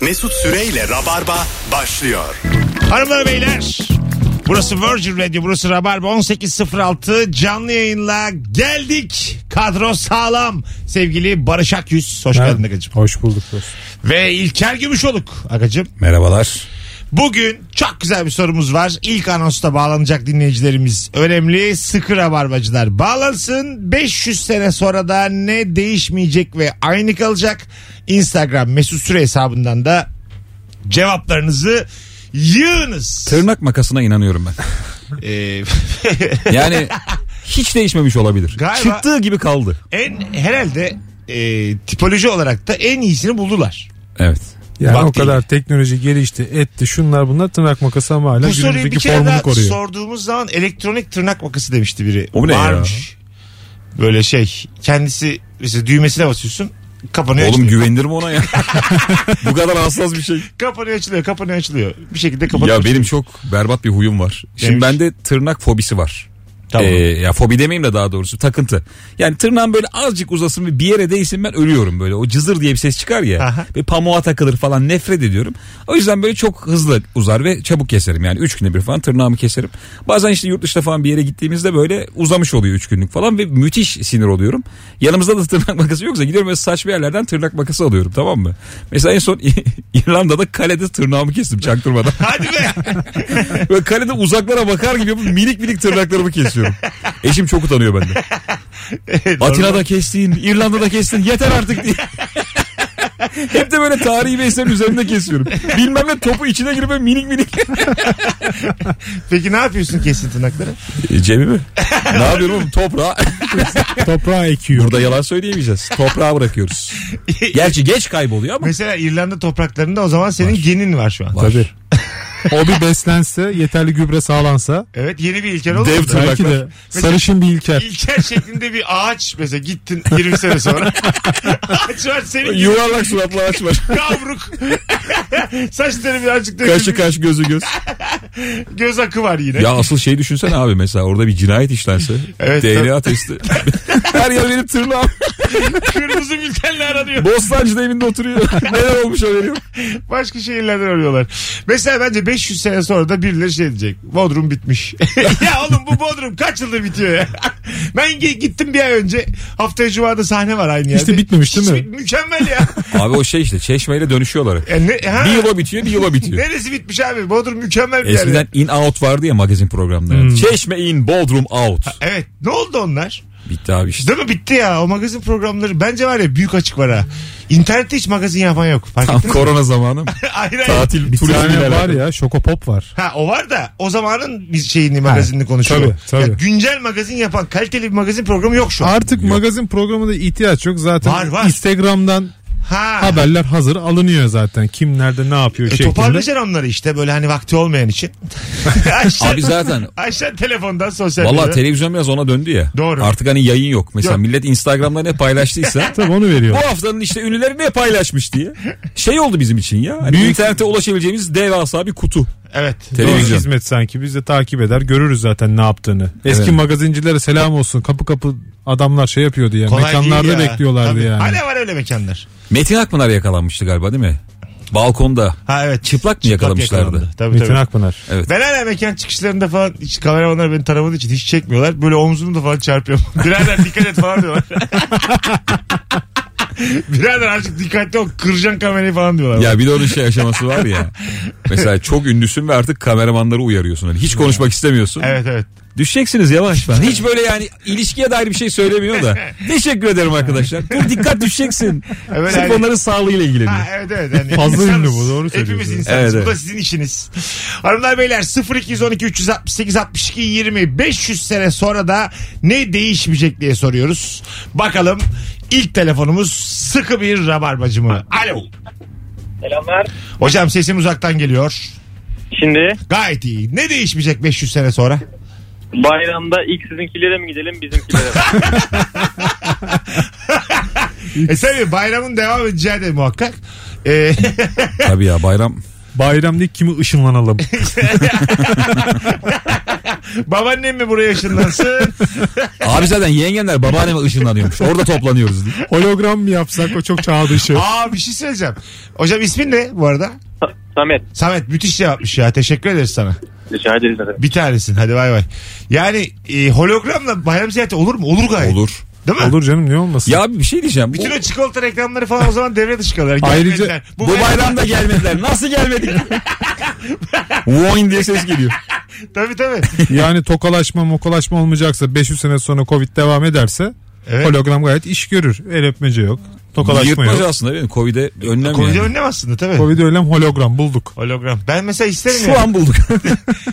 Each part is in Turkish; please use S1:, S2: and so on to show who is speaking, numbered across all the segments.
S1: Mesut Süreyle Rabarba başlıyor.
S2: Hanımlar beyler burası Virgin Radio burası Rabarba 18.06 canlı yayınla geldik. Kadro sağlam. Sevgili Barış Akyüz hoş geldin Agacım.
S3: Hoş bulduk dostum.
S2: Ve İlker Gümüşoluk Agacım.
S3: Merhabalar.
S2: Bugün çok güzel bir sorumuz var. İlk anonsta bağlanacak dinleyicilerimiz önemli. Sıkı rabarbacılar bağlansın. 500 sene sonra da ne değişmeyecek ve aynı kalacak. Instagram mesut süre hesabından da cevaplarınızı yığınız.
S4: Tırnak makasına inanıyorum ben.
S2: Ee,
S4: Yani hiç değişmemiş olabilir.
S2: Galiba-
S4: Çıktığı gibi kaldı.
S2: en herhalde e, tipoloji olarak da en iyisini buldular.
S4: Evet.
S3: Yani
S2: Vaktiyle.
S3: o kadar teknoloji gelişti, etti, şunlar bunlar tırnak makası ama hala
S2: Bu soruyu bir
S3: günümüzdeki
S2: kere daha
S3: formunu koruyor.
S2: sorduğumuz zaman elektronik tırnak makası demişti biri.
S4: O ne ya?
S2: Varmış. Böyle şey kendisi mesela düğmesine basıyorsun kapanıyor
S4: Oğlum
S2: açılıyor.
S4: güvenilir mi ona ya? Bu kadar hassas bir şey.
S2: Kapanıyor açılıyor kapanıyor açılıyor. Bir şekilde kapanıyor.
S4: Ya benim çok berbat bir huyum var. Şimdi
S2: Neymiş?
S4: bende tırnak fobisi var.
S2: Tamam.
S4: Ee, ya fobi demeyeyim de daha doğrusu takıntı. Yani tırnağım böyle azıcık uzasın ve bir yere değsin ben ölüyorum böyle. O cızır diye bir ses çıkar
S2: Aha.
S4: ya. Ve pamuğa takılır falan nefret ediyorum. O yüzden böyle çok hızlı uzar ve çabuk keserim. Yani 3 günde bir falan tırnağımı keserim. Bazen işte yurt dışına falan bir yere gittiğimizde böyle uzamış oluyor 3 günlük falan ve müthiş sinir oluyorum. Yanımızda da tırnak makası yoksa gidiyorum böyle saçma yerlerden tırnak makası alıyorum tamam mı? Mesela en son İrlanda'da kalede tırnağımı kestim çaktırmadan.
S2: Hadi be.
S4: Böyle kalede uzaklara bakar gibi yapıp minik minik tırnaklarımı kesiyorum. Eşim çok utanıyor benden. Atina'da kestin, İrlanda'da kestin yeter artık diye. Hep de böyle tarihi bir eserin üzerinde kesiyorum. Bilmem ne topu içine girip böyle minik minik.
S2: Peki ne yapıyorsun kesin tırnakları?
S4: Cebi mi? Ne yapıyorum oğlum? Toprağa.
S3: Toprağa ekiyor.
S4: Burada yalan söyleyemeyeceğiz. Toprağa bırakıyoruz. Gerçi geç kayboluyor ama.
S2: Mesela İrlanda topraklarında o zaman senin genin var şu an.
S4: Var.
S3: Tabii. o bir beslense, yeterli gübre sağlansa
S2: Evet yeni bir ilker olur.
S4: Dev
S2: mu?
S4: tırnak.
S3: belki de sarışın bir ilker.
S2: İlker şeklinde bir ağaç mesela gittin 20 sene sonra. ağaç var senin gibi
S4: Yuvarlak suratlı ağaç var.
S2: kavruk. Saçları birazcık dökülmüş.
S4: Kaşı kaş gözü göz.
S2: Göz akı var yine.
S4: Ya asıl şey düşünsene abi mesela orada bir cinayet işlense.
S2: Evet,
S4: DNA testi. Her yer benim tırnağım.
S2: Kırmızı bültenle aranıyor.
S4: Bostancı'da evinde oturuyor. Neler olmuş haberi yok.
S2: Başka şehirlerden arıyorlar. Mesela bence 500 sene sonra da birileri şey diyecek. Bodrum bitmiş. ya oğlum bu Bodrum kaç yıldır bitiyor ya. ben gi- gittim bir ay önce. Haftaya Cuma'da sahne var aynı yerde.
S3: İşte bitmemiş değil
S2: Hiç
S3: mi?
S2: bit- mükemmel ya.
S4: Abi o şey işte çeşmeyle dönüşüyorlar.
S2: Ya ne- ha?
S4: Bir yıla bitiyor bir yıla bitiyor.
S2: Neresi bitmiş abi? Bodrum mükemmel bir yer.
S4: Eskiden in out vardı ya magazin programlarında.
S3: Hmm.
S4: Çeşme in Bodrum out.
S2: Evet. Ne oldu onlar?
S4: Bitti abi işte.
S2: Değil mi? Bitti ya. O magazin programları bence var ya büyük açık var ha. İnternette hiç magazin yapan yok. Fark
S4: Tam
S2: ettiniz mi?
S4: korona zamanı mı?
S2: Aynen.
S4: Tatil
S3: Bir tane
S4: turizmiyle
S3: var
S4: var ya.
S3: ya, şokopop var.
S2: Ha o var da o zamanın bir şeyini magazinini konuşuyor.
S3: tabii, tabii.
S2: Ya, güncel magazin yapan kaliteli bir magazin programı yok şu an.
S3: Artık magazin programına ihtiyaç yok. Zaten
S2: Var, var.
S3: Instagram'dan
S2: Ha.
S3: haberler hazır alınıyor zaten. Kim nerede ne yapıyor
S2: E,
S3: şeklinde.
S2: toparlayacaksın onları işte böyle hani vakti olmayan için. Aşağı,
S4: Abi zaten
S2: aşağı telefondan sosyal
S4: Valla
S2: medyadan.
S4: televizyon biraz ona döndü ya.
S2: Doğru.
S4: Artık hani yayın yok. Mesela
S2: Yok.
S4: millet Instagram'da ne paylaştıysa
S3: Tabii onu veriyor.
S4: bu haftanın işte ünlüleri ne paylaşmış diye. Şey oldu bizim için ya. Hani
S3: Büyük-
S4: internete ulaşabileceğimiz devasa bir kutu.
S2: Evet.
S3: Doğru,
S4: Televizyon.
S3: hizmet sanki biz de takip eder görürüz zaten ne yaptığını. Eski
S4: Evet.
S3: magazincilere selam olsun kapı kapı adamlar şey yapıyordu ya
S2: Kolay
S3: mekanlarda
S2: değil ya.
S3: bekliyorlardı
S2: Tabii.
S3: yani.
S2: Hala var öyle mekanlar.
S4: Metin Akpınar yakalanmıştı galiba değil mi? Balkonda.
S2: Ha evet.
S4: Çıplak mı yakalamışlardı?
S2: yakalandı. Tabii
S3: Metin
S2: tabii.
S3: Akpınar.
S2: Ben hala mekan çıkışlarında falan hiç kameramanlar beni taramadığı için hiç çekmiyorlar. Böyle omzumu da falan çarpıyorum. Birader dikkat et falan diyorlar. Birader azıcık dikkatli ol kıracaksın kamerayı falan diyorlar.
S4: Ya bir de onun şey aşaması var ya. Mesela çok ünlüsün ve artık kameramanları uyarıyorsun. Hani hiç konuşmak istemiyorsun.
S2: Evet evet.
S4: Düşeceksiniz yavaş falan. Hiç böyle yani ilişkiye dair bir şey söylemiyor da. Teşekkür ederim arkadaşlar. Dur dikkat düşeceksin.
S2: Evet,
S4: Sırf
S2: yani-
S4: onların sağlığıyla
S2: Ha,
S4: ilgileniyor.
S2: evet evet. Yani
S3: Fazla
S2: insanız.
S3: ünlü bu, doğru
S2: Hepimiz
S3: söylüyorsun.
S2: insanız.
S4: Evet,
S2: bu da
S4: evet.
S2: sizin işiniz. Hanımlar beyler 0212 368 62 20 500 sene sonra da ne değişmeyecek diye soruyoruz. Bakalım ilk telefonumuz sıkı bir rabarbacı mı? Alo.
S5: Selamlar.
S2: Hocam sesim uzaktan geliyor.
S5: Şimdi
S2: Gayet iyi. Ne değişmeyecek 500 sene sonra?
S5: bayramda ilk sizinkilere mi gidelim bizimkilere mi?
S2: E tabii bayramın devam edeceği de muhakkak. E,
S4: Tabii ya bayram
S3: Bayramda ilk kimi ışınlanalım.
S2: Babaannem mi buraya ışınlansın?
S4: Abi zaten yengenler babaanneme ışınlanıyormuş. Orada toplanıyoruz diye.
S3: Hologram mı yapsak o çok çağ dışı.
S2: Aa bir şey söyleyeceğim. Hocam ismin ne bu arada?
S5: Sa- Samet
S2: Samet müthiş cevapmış ya. Teşekkür ederiz sana.
S5: rica ederiz efendim.
S2: Bir tanesin hadi bay bay. Yani e, hologramla bayram ziyareti olur mu? Olur gayet.
S4: Olur.
S2: Değil mi?
S3: Olur canım niye olmasın?
S4: Ya abi bir şey diyeceğim.
S2: Bütün
S4: O-
S2: o çikolata reklamları falan o zaman devre dışı kalır.
S3: Ayrıca
S2: Gelmediler.
S4: bu, bayramda gelmediler. Nasıl gelmedik? Woin diye ses geliyor.
S2: Tabii tabii.
S3: Yani tokalaşma mokalaşma olmayacaksa 500 sene sonra Covid devam ederse
S2: Evet.
S3: hologram gayet iş görür. El öpmece yok. Tokalaşma
S4: Yırtmacı
S3: yok.
S4: aslında değil mi? Covid'e önlem
S2: Covid
S4: yani.
S2: önlem aslında tabii.
S3: Covid ölem hologram bulduk.
S2: Hologram. Ben mesela isterim ya.
S4: Şu an bulduk.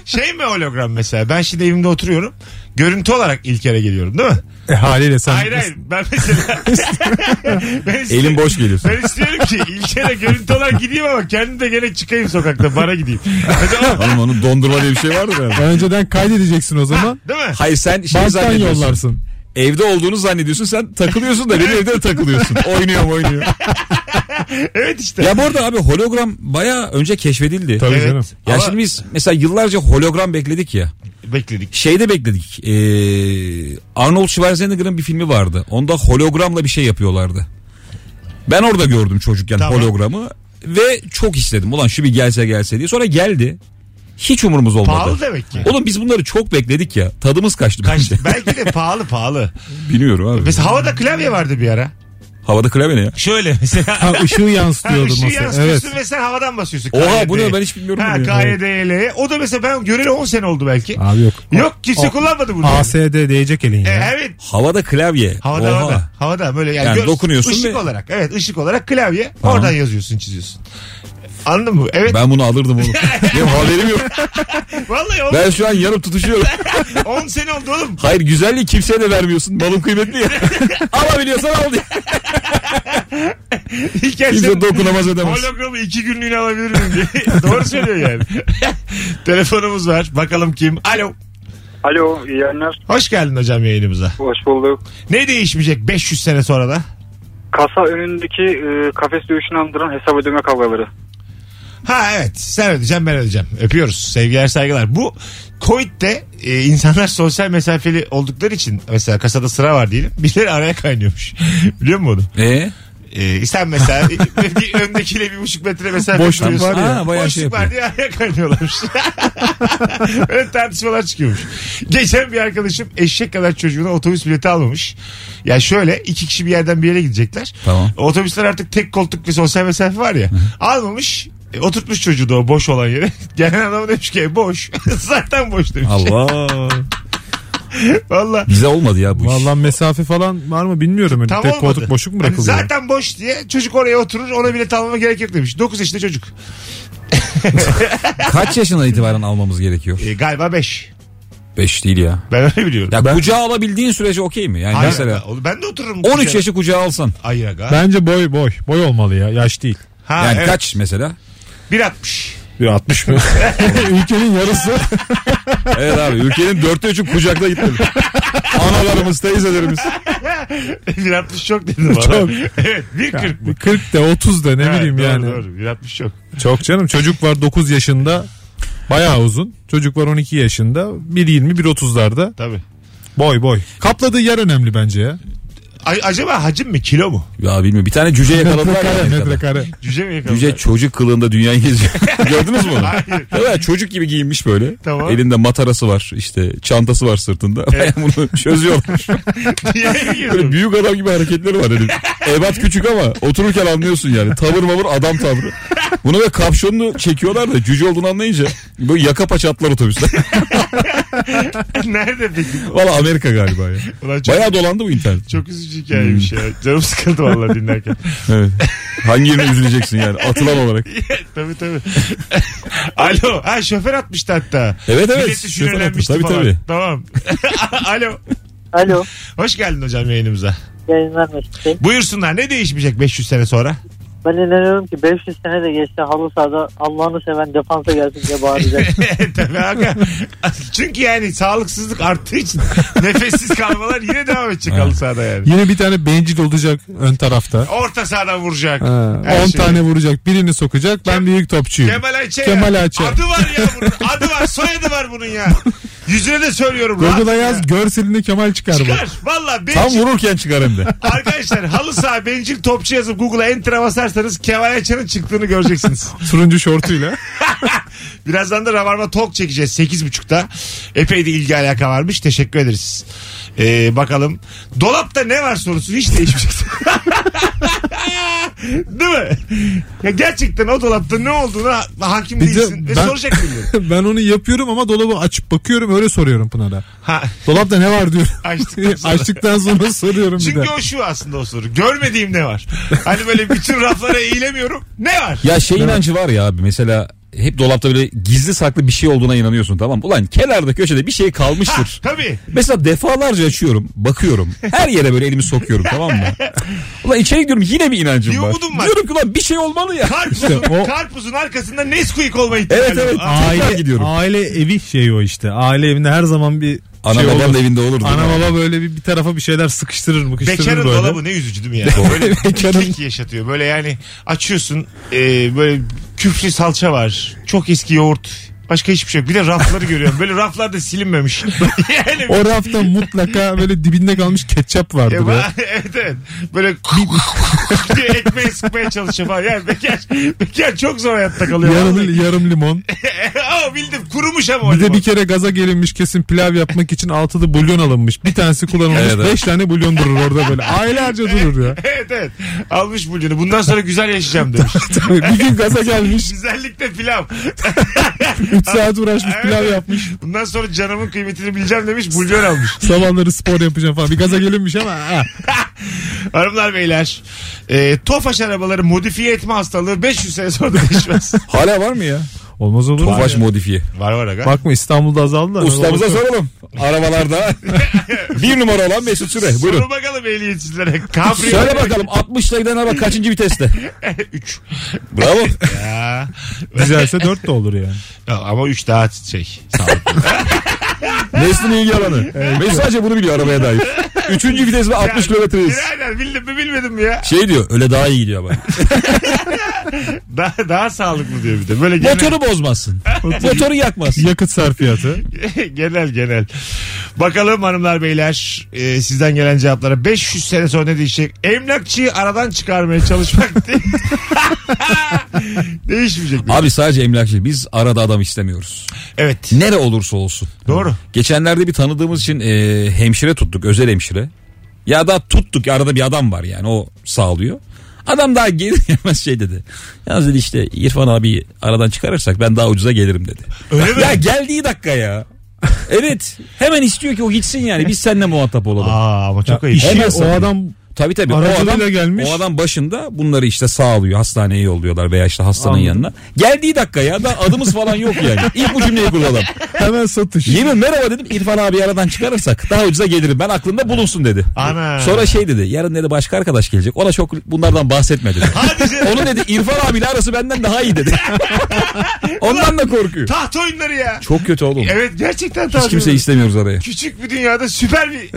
S2: Şey mi hologram mesela? Ben şimdi evimde oturuyorum. Görüntü olarak ilk kere geliyorum değil mi?
S3: E, haliyle sen
S2: Hayır hayır. Ben mesela... ben istiyorum-
S4: Elim boş geliyor.
S2: Ben istiyorum ki ilk kere görüntü olarak gideyim ama kendim de gene çıkayım sokakta. Bara gideyim. Mesela o-
S4: Oğlum onun dondurma diye bir şey vardır herhalde.
S3: önceden kaydedeceksin o zaman.
S2: Değil mi?
S4: Hayır sen şey
S3: Banktan
S4: zannediyorsun.
S3: yollarsın.
S4: Evde olduğunu zannediyorsun sen takılıyorsun da benim evde de takılıyorsun. Oynuyorum oynuyor.
S2: Evet işte.
S4: ya bu arada abi hologram baya önce keşfedildi.
S3: Tabii
S2: Evet.
S3: canım.
S4: Ya
S2: Ama-
S4: şimdi biz mesela yıllarca hologram bekledik ya.
S2: Bekledik.
S4: Şeyde bekledik. Ee, Arnold Schwarzenegger'ın bir filmi vardı. Onda hologramla bir şey yapıyorlardı. Ben orada gördüm çocukken
S2: Tamam.
S4: hologramı. Ve çok istedim. Ulan şu bir gelse gelse diye. Sonra geldi. Hiç umurumuz olmadı.
S2: Pahalı demek ki.
S4: Oğlum biz bunları çok bekledik ya. Tadımız kaçtı.
S2: Kaç,
S4: bence.
S2: belki de pahalı pahalı.
S4: Bilmiyorum abi.
S2: Mesela havada klavye vardı bir ara.
S4: Havada klavye ne ya?
S2: Şöyle mesela.
S3: Ha ışığı
S2: Ha,
S3: yansıtıyordu
S2: ışığı
S3: masa.
S2: yansıtıyorsun
S3: Evet.
S2: ve sen havadan basıyorsun.
S4: Oha,
S2: KYD.
S4: bu ne? Ben hiç bilmiyorum
S2: Ha,
S4: bunu ya.
S2: KYDL. O da mesela ben göreli 10 sene oldu belki.
S3: Abi yok.
S2: Yok kimse
S3: O-
S2: kullanmadı bunu.
S3: ASD diyecek elin
S2: E,
S3: ya.
S2: evet.
S4: Havada klavye.
S2: Havada
S4: Oha.
S2: havada. Havada böyle yani,
S4: Yani
S2: gör-
S4: dokunuyorsun
S2: ışık
S4: ve-
S2: olarak. Evet ışık olarak klavye.
S4: Tamam.
S2: Oradan yazıyorsun çiziyorsun. Anladın mı? Evet.
S4: Ben bunu alırdım oğlum. Benim haberim yok.
S2: Vallahi 10
S4: Ben şu an yanıp tutuşuyorum.
S2: 10 sene oldu oğlum.
S4: Hayır güzelliği kimseye de vermiyorsun. Malım kıymetli ya. Alabiliyorsan al diye.
S2: İlk el
S4: Kimse
S2: sen
S4: dokunamaz ödemez.
S2: hologramı 2 günlüğüne alabilir miyim diye. Doğru söylüyor yani. Telefonumuz var. Bakalım kim? Alo.
S6: Alo iyi yayınlar.
S2: Hoş geldin hocam yayınımıza.
S6: Hoş bulduk.
S2: Ne değişmeyecek 500 sene sonra da?
S6: Kasa önündeki e, kafes dövüşünü andıran hesap ödeme kavgaları.
S2: Ha evet sen ödeyeceksin ben ödeyeceğim. Öpüyoruz sevgiler saygılar. Bu Covid'de e, insanlar sosyal mesafeli oldukları için mesela kasada sıra var diyelim. Birileri araya kaynıyormuş. Biliyor musun bunu?
S4: Ee?
S2: E, sen mesela bir öndekiyle bir buçuk metre mesafe
S3: Boşluk
S2: koyuyorsun.
S4: var ya. Ha, bayağı
S2: Boşluk
S4: şey
S2: var diye araya kaynıyorlarmış. Öyle tartışmalar çıkıyormuş. Geçen bir arkadaşım eşek kadar çocuğuna otobüs bileti almamış. Ya şöyle iki kişi bir yerden bir yere gidecekler.
S4: Tamam.
S2: Otobüsler artık tek koltuk ve sosyal mesafe var ya. Almamış e, oturtmuş çocuğu da o boş olan yere. Gelen adam demiş ki "E, boş. Zaten boş demiş.
S4: Allah.
S2: Valla.
S4: Bize olmadı ya bu iş.
S3: Vallahi mesafe falan var mı bilmiyorum. Öyle
S2: Tam
S3: Tek
S2: olmadı.
S3: koltuk boşluk mu
S2: Hani
S3: bırakılıyor?
S2: zaten boş diye çocuk oraya oturur ona bilet almama gerek yok demiş. 9 yaşında çocuk.
S4: Kaç yaşından itibaren almamız gerekiyor?
S2: E, galiba 5.
S4: 5 değil ya.
S2: Ben öyle biliyorum.
S4: Ya kucağa alabildiğin sürece okey mi? Yani
S2: Hayır,
S4: mesela
S2: ben- ben de otururum.
S4: 13 yaşı kucağa alsan.
S2: Hayır aga.
S3: Bence boy boy. Boy olmalı ya. Yaş değil.
S2: Ha,
S4: Yani
S2: evet.
S4: kaç mesela?
S2: 1.60.
S3: Bir 60 mı? Ülkenin yarısı.
S4: Evet abi ülkenin dörtte üçü kucakta gittim. Analarımız, teyzelerimiz.
S2: 1.60 çok dedim bana.
S3: Çok.
S2: evet 1.40 bu.
S3: 40 de 30 da ne
S2: Ha,
S3: bileyim
S2: doğru,
S3: yani.
S2: Doğru 1.60 çok.
S3: Çok canım çocuk var 9 yaşında. Bayağı uzun. Çocuk var 12 yaşında. 1.20 1.30'larda.
S2: Tabii.
S3: Boy boy. Kapladığı yer önemli bence ya.
S2: Ay, acaba hacim mi kilo mu?
S4: Ya bilmiyorum bir tane cüce yakaladılar ya. Amerika'da.
S3: metrekare.
S2: Cüce mi yakaladı?
S4: Cüce çocuk kılığında dünyayı geziyor. Gördünüz mü onu?
S2: Hayır.
S4: Evet, çocuk gibi giyinmiş böyle.
S2: Tamam.
S4: Elinde matarası var işte çantası var sırtında.
S2: Evet.
S4: Bunu çözüyorlar.
S2: Dünyaya
S4: Böyle
S2: girdim.
S4: büyük adam gibi hareketleri var. elinde. Ebat küçük ama otururken anlıyorsun yani. Tavır mavır adam tavrı. Bunu ve kapşonunu çekiyorlar da cüce olduğunu anlayınca böyle yaka paça atlar otobüsler.
S2: Nerede peki?
S4: Valla Amerika galiba ya.
S2: Ulan çok,
S4: Bayağı dolandı bu internet.
S2: çok üzücü hikayeymiş
S4: Hmm.
S2: ya. Canım sıkıldı vallahi dinlerken.
S4: Evet. Hangi yerine üzüleceksin yani atılan olarak.
S2: tabii tabii. Alo. Ha şoför atmıştı hatta.
S4: Evet evet.
S2: Bileti
S4: Şoför atmış.
S2: sinirlenmişti
S4: Tabii
S2: falan.
S4: tabii.
S2: Tamam. Alo.
S7: Alo.
S2: Hoş geldin hocam yayınımıza.
S7: Yayınlar Mesut Bey.
S2: Buyursunlar ne değişmeyecek 500 sene sonra?
S7: Ben inanıyorum ki 500 sene de geçti halı sahada Allah'ını seven defansa gelsin diye bağıracak.
S2: Tabii aga. Çünkü yani sağlıksızlık arttığı için nefessiz kalmalar yine devam edecek halı sahada yani.
S3: Yine bir tane bencil olacak ön tarafta.
S2: Orta sahadan vuracak.
S3: Ha,
S2: Her
S3: 10
S2: şey.
S3: tane vuracak. Birini sokacak. Ben büyük topçuyum.
S2: Kemal Ayça. ya.
S3: Kemal Ayça.
S2: Adı var ya bunun. Adı var. Soyadı var bunun ya. Yüzüne de söylüyorum. rahat
S3: Google'a
S2: ya.
S3: yaz görselinde Kemal çıkar bu.
S2: Çıkar. Valla
S4: Tam
S2: bencil.
S4: vururken çıkar hem de.
S2: Arkadaşlar halı saha bencil topçu yazıp Google'a enter'a basarsanız Kemal Ayça'nın çıktığını göreceksiniz.
S3: Turuncu şortuyla.
S2: Birazdan da Rabarba Talk çekeceğiz 8.30'da. Epey de ilgi alaka varmış. Teşekkür ederiz. Ee, bakalım. Dolapta ne var sorusu hiç değişmeyecek. Değil mi? Ya gerçekten o dolapta ne olduğuna hakim
S3: Bir de
S2: değilsin. Ve
S3: ben-
S2: soracak mıyım?
S3: ben onu yapıyorum ama dolabı açıp bakıyorum öyle soruyorum Pınar'a.
S2: Ha,
S3: Dolapta ne var diyorum.
S2: Açtıktan sonra.
S3: Açtıktan sonra soruyorum bir de.
S2: çünkü o şu aslında o soru. Görmediğim ne var? Hani böyle bütün raflara eğilemiyorum. Ne var?
S4: Ya şey inancı var ya abi mesela hep dolapta böyle gizli saklı bir şey olduğuna inanıyorsun tamam mı? Ulan kenarda köşede bir şey
S2: Ha,
S4: kalmıştır.
S2: tabii.
S4: Mesela defalarca açıyorum, bakıyorum. Her yere böyle elimi sokuyorum tamam mı? Ulan içeri gidiyorum yine bir inancım
S2: Bir
S4: var.
S2: umudum var.
S4: Diyorum ki ulan bir şey olmalı ya.
S2: Karpuzun,
S3: İşte o-
S2: karpuzun arkasında Nesquik olma ihtimali.
S4: Evet, evet.
S2: var. Aa,
S4: Tekrar
S3: Aile,
S4: gidiyorum.
S3: aile evi şey o işte. Aile evinde her zaman bir
S4: Ana
S3: şey
S4: babam
S3: olur.
S4: da evinde olur. değil
S3: Ana
S4: mi?
S3: baba böyle bir, bir tarafa bir şeyler sıkıştırır mıkıştırır
S2: Bekarın
S3: böyle.
S2: dolabı ne üzücü değil mi yani? Böyle bekarın... yaşatıyor. Böyle yani açıyorsun e, böyle küflü salça var. Çok eski yoğurt. Başka hiçbir şey yok. Bir de rafları görüyorum. Böyle raflar da silinmemiş. yani
S3: O rafta mutlaka böyle dibinde kalmış ketçap vardır.
S2: Ya
S3: ya.
S2: ba- E, evet evet. Böyle diye ekmeği sıkmaya çalışıyor falan. Yani bekar, bekar çok zor hayatta kalıyor. Vallahi.
S3: Yarım, yarım limon.
S2: Aa, bildim kurumuş ama. o
S3: Bir de
S2: limon.
S3: bir kere gaza gelinmiş kesin pilav yapmak için altılı bulyon alınmış. Bir tanesi kullanılmış.
S4: Evet, evet.
S3: Beş tane bulyon durur orada böyle. Aylarca durur ya.
S2: Evet evet. Almış bulyonu. Bundan sonra güzel yaşayacağım demiş.
S3: bir gün gaza gelmiş.
S2: Güzellikte pilav.
S3: Üç saat uğraşmış pilav
S2: Evet.
S3: yapmış.
S2: Bundan sonra canımın kıymetini bileceğim demiş. Bulyon almış.
S3: Sabahları spor yapacağım falan. Bir gaza gelinmiş ama. ha.
S2: Hanımlar beyler. E, Tofaş arabaları modifiye etme hastalığı 500 sene sonra da değişmez.
S4: Hala var mı ya?
S3: Olmaz olur mu?
S4: Tofaş
S3: ya?
S4: modifiye.
S2: var var aga.
S3: Bakma İstanbul'da azaldı. da.
S4: Ustamıza soralım. Arabalarda bir numara olan Mesut Süre. Buyurun.
S2: Sorun bakalım ehliyetçilere. Kabrio.
S4: Söyle bakalım 60'la giden araba kaçıncı viteste?
S2: 3.
S4: Bravo.
S2: Ya.
S3: Güzelse dört de olur yani.
S2: Ya Ama 3 daha şey.
S4: Mesut'un ilgi alanı. Mesut sadece bunu biliyor arabaya dair. Üçüncü vitesle 60 kilometreyiz.
S2: Birader bildim mi bilmedim mi ya?
S4: Şey diyor öyle daha iyi gidiyor bak.
S2: Daha, daha sağlıklı diyor bir de. Böyle genel,
S4: Motoru bozmazsın. Motoru yakmazsın.
S3: Yakıt sarfiyatı.
S2: genel genel. Bakalım hanımlar beyler e, sizden gelen cevaplara 500 sene sonra ne değişecek? Emlakçıyı aradan çıkarmaya çalışmak değil. Değişmeyecek. mi?
S4: Abi sadece emlakçı biz arada adam istemiyoruz.
S2: Evet.
S4: Nere olursa olsun.
S2: Doğru.
S4: Geçenlerde bir tanıdığımız için e, hemşire tuttuk özel hemşire. Ya da tuttuk ya arada bir adam var yani o sağlıyor. Adam daha gelir gelmez şey dedi. Yalnız dedi işte İrfan abi aradan çıkarırsak ben daha ucuza gelirim dedi.
S2: Öyle mi?
S4: Ya geldiği dakika ya. evet hemen istiyor ki o gitsin yani biz seninle muhatap olalım.
S2: Aa ama çok ayıp.
S3: İşi
S4: Hemen
S3: o
S4: sarfiyat.
S3: adam
S4: Tabii tabii.
S3: Aracılığıyla
S4: o adam,
S3: gelmiş.
S4: O adam başında bunları işte sağlıyor. Hastaneye yolluyorlar veya işte hastanın
S3: Anladım.
S4: yanına. Geldiği dakika ya da adımız falan yok yani. İlk bu cümleyi kullanalım.
S3: hemen satış.
S4: Yemin merhaba dedim İrfan abi aradan çıkarırsak daha ucuza gelirim. Ben aklımda bulunsun dedi.
S2: Ana.
S4: Sonra şey dedi yarın dedi başka arkadaş gelecek. Ona çok bunlardan bahsetme dedi.
S2: Hadi canım.
S4: Onun dedi İrfan abiyle arası benden daha iyi dedi. Ondan da korkuyor.
S2: Taht oyunları ya.
S4: Çok kötü oğlum.
S2: Evet gerçekten taht
S4: Hiç kimse
S2: oyunları.
S4: istemiyoruz araya.
S2: Küçük bir dünyada süper bir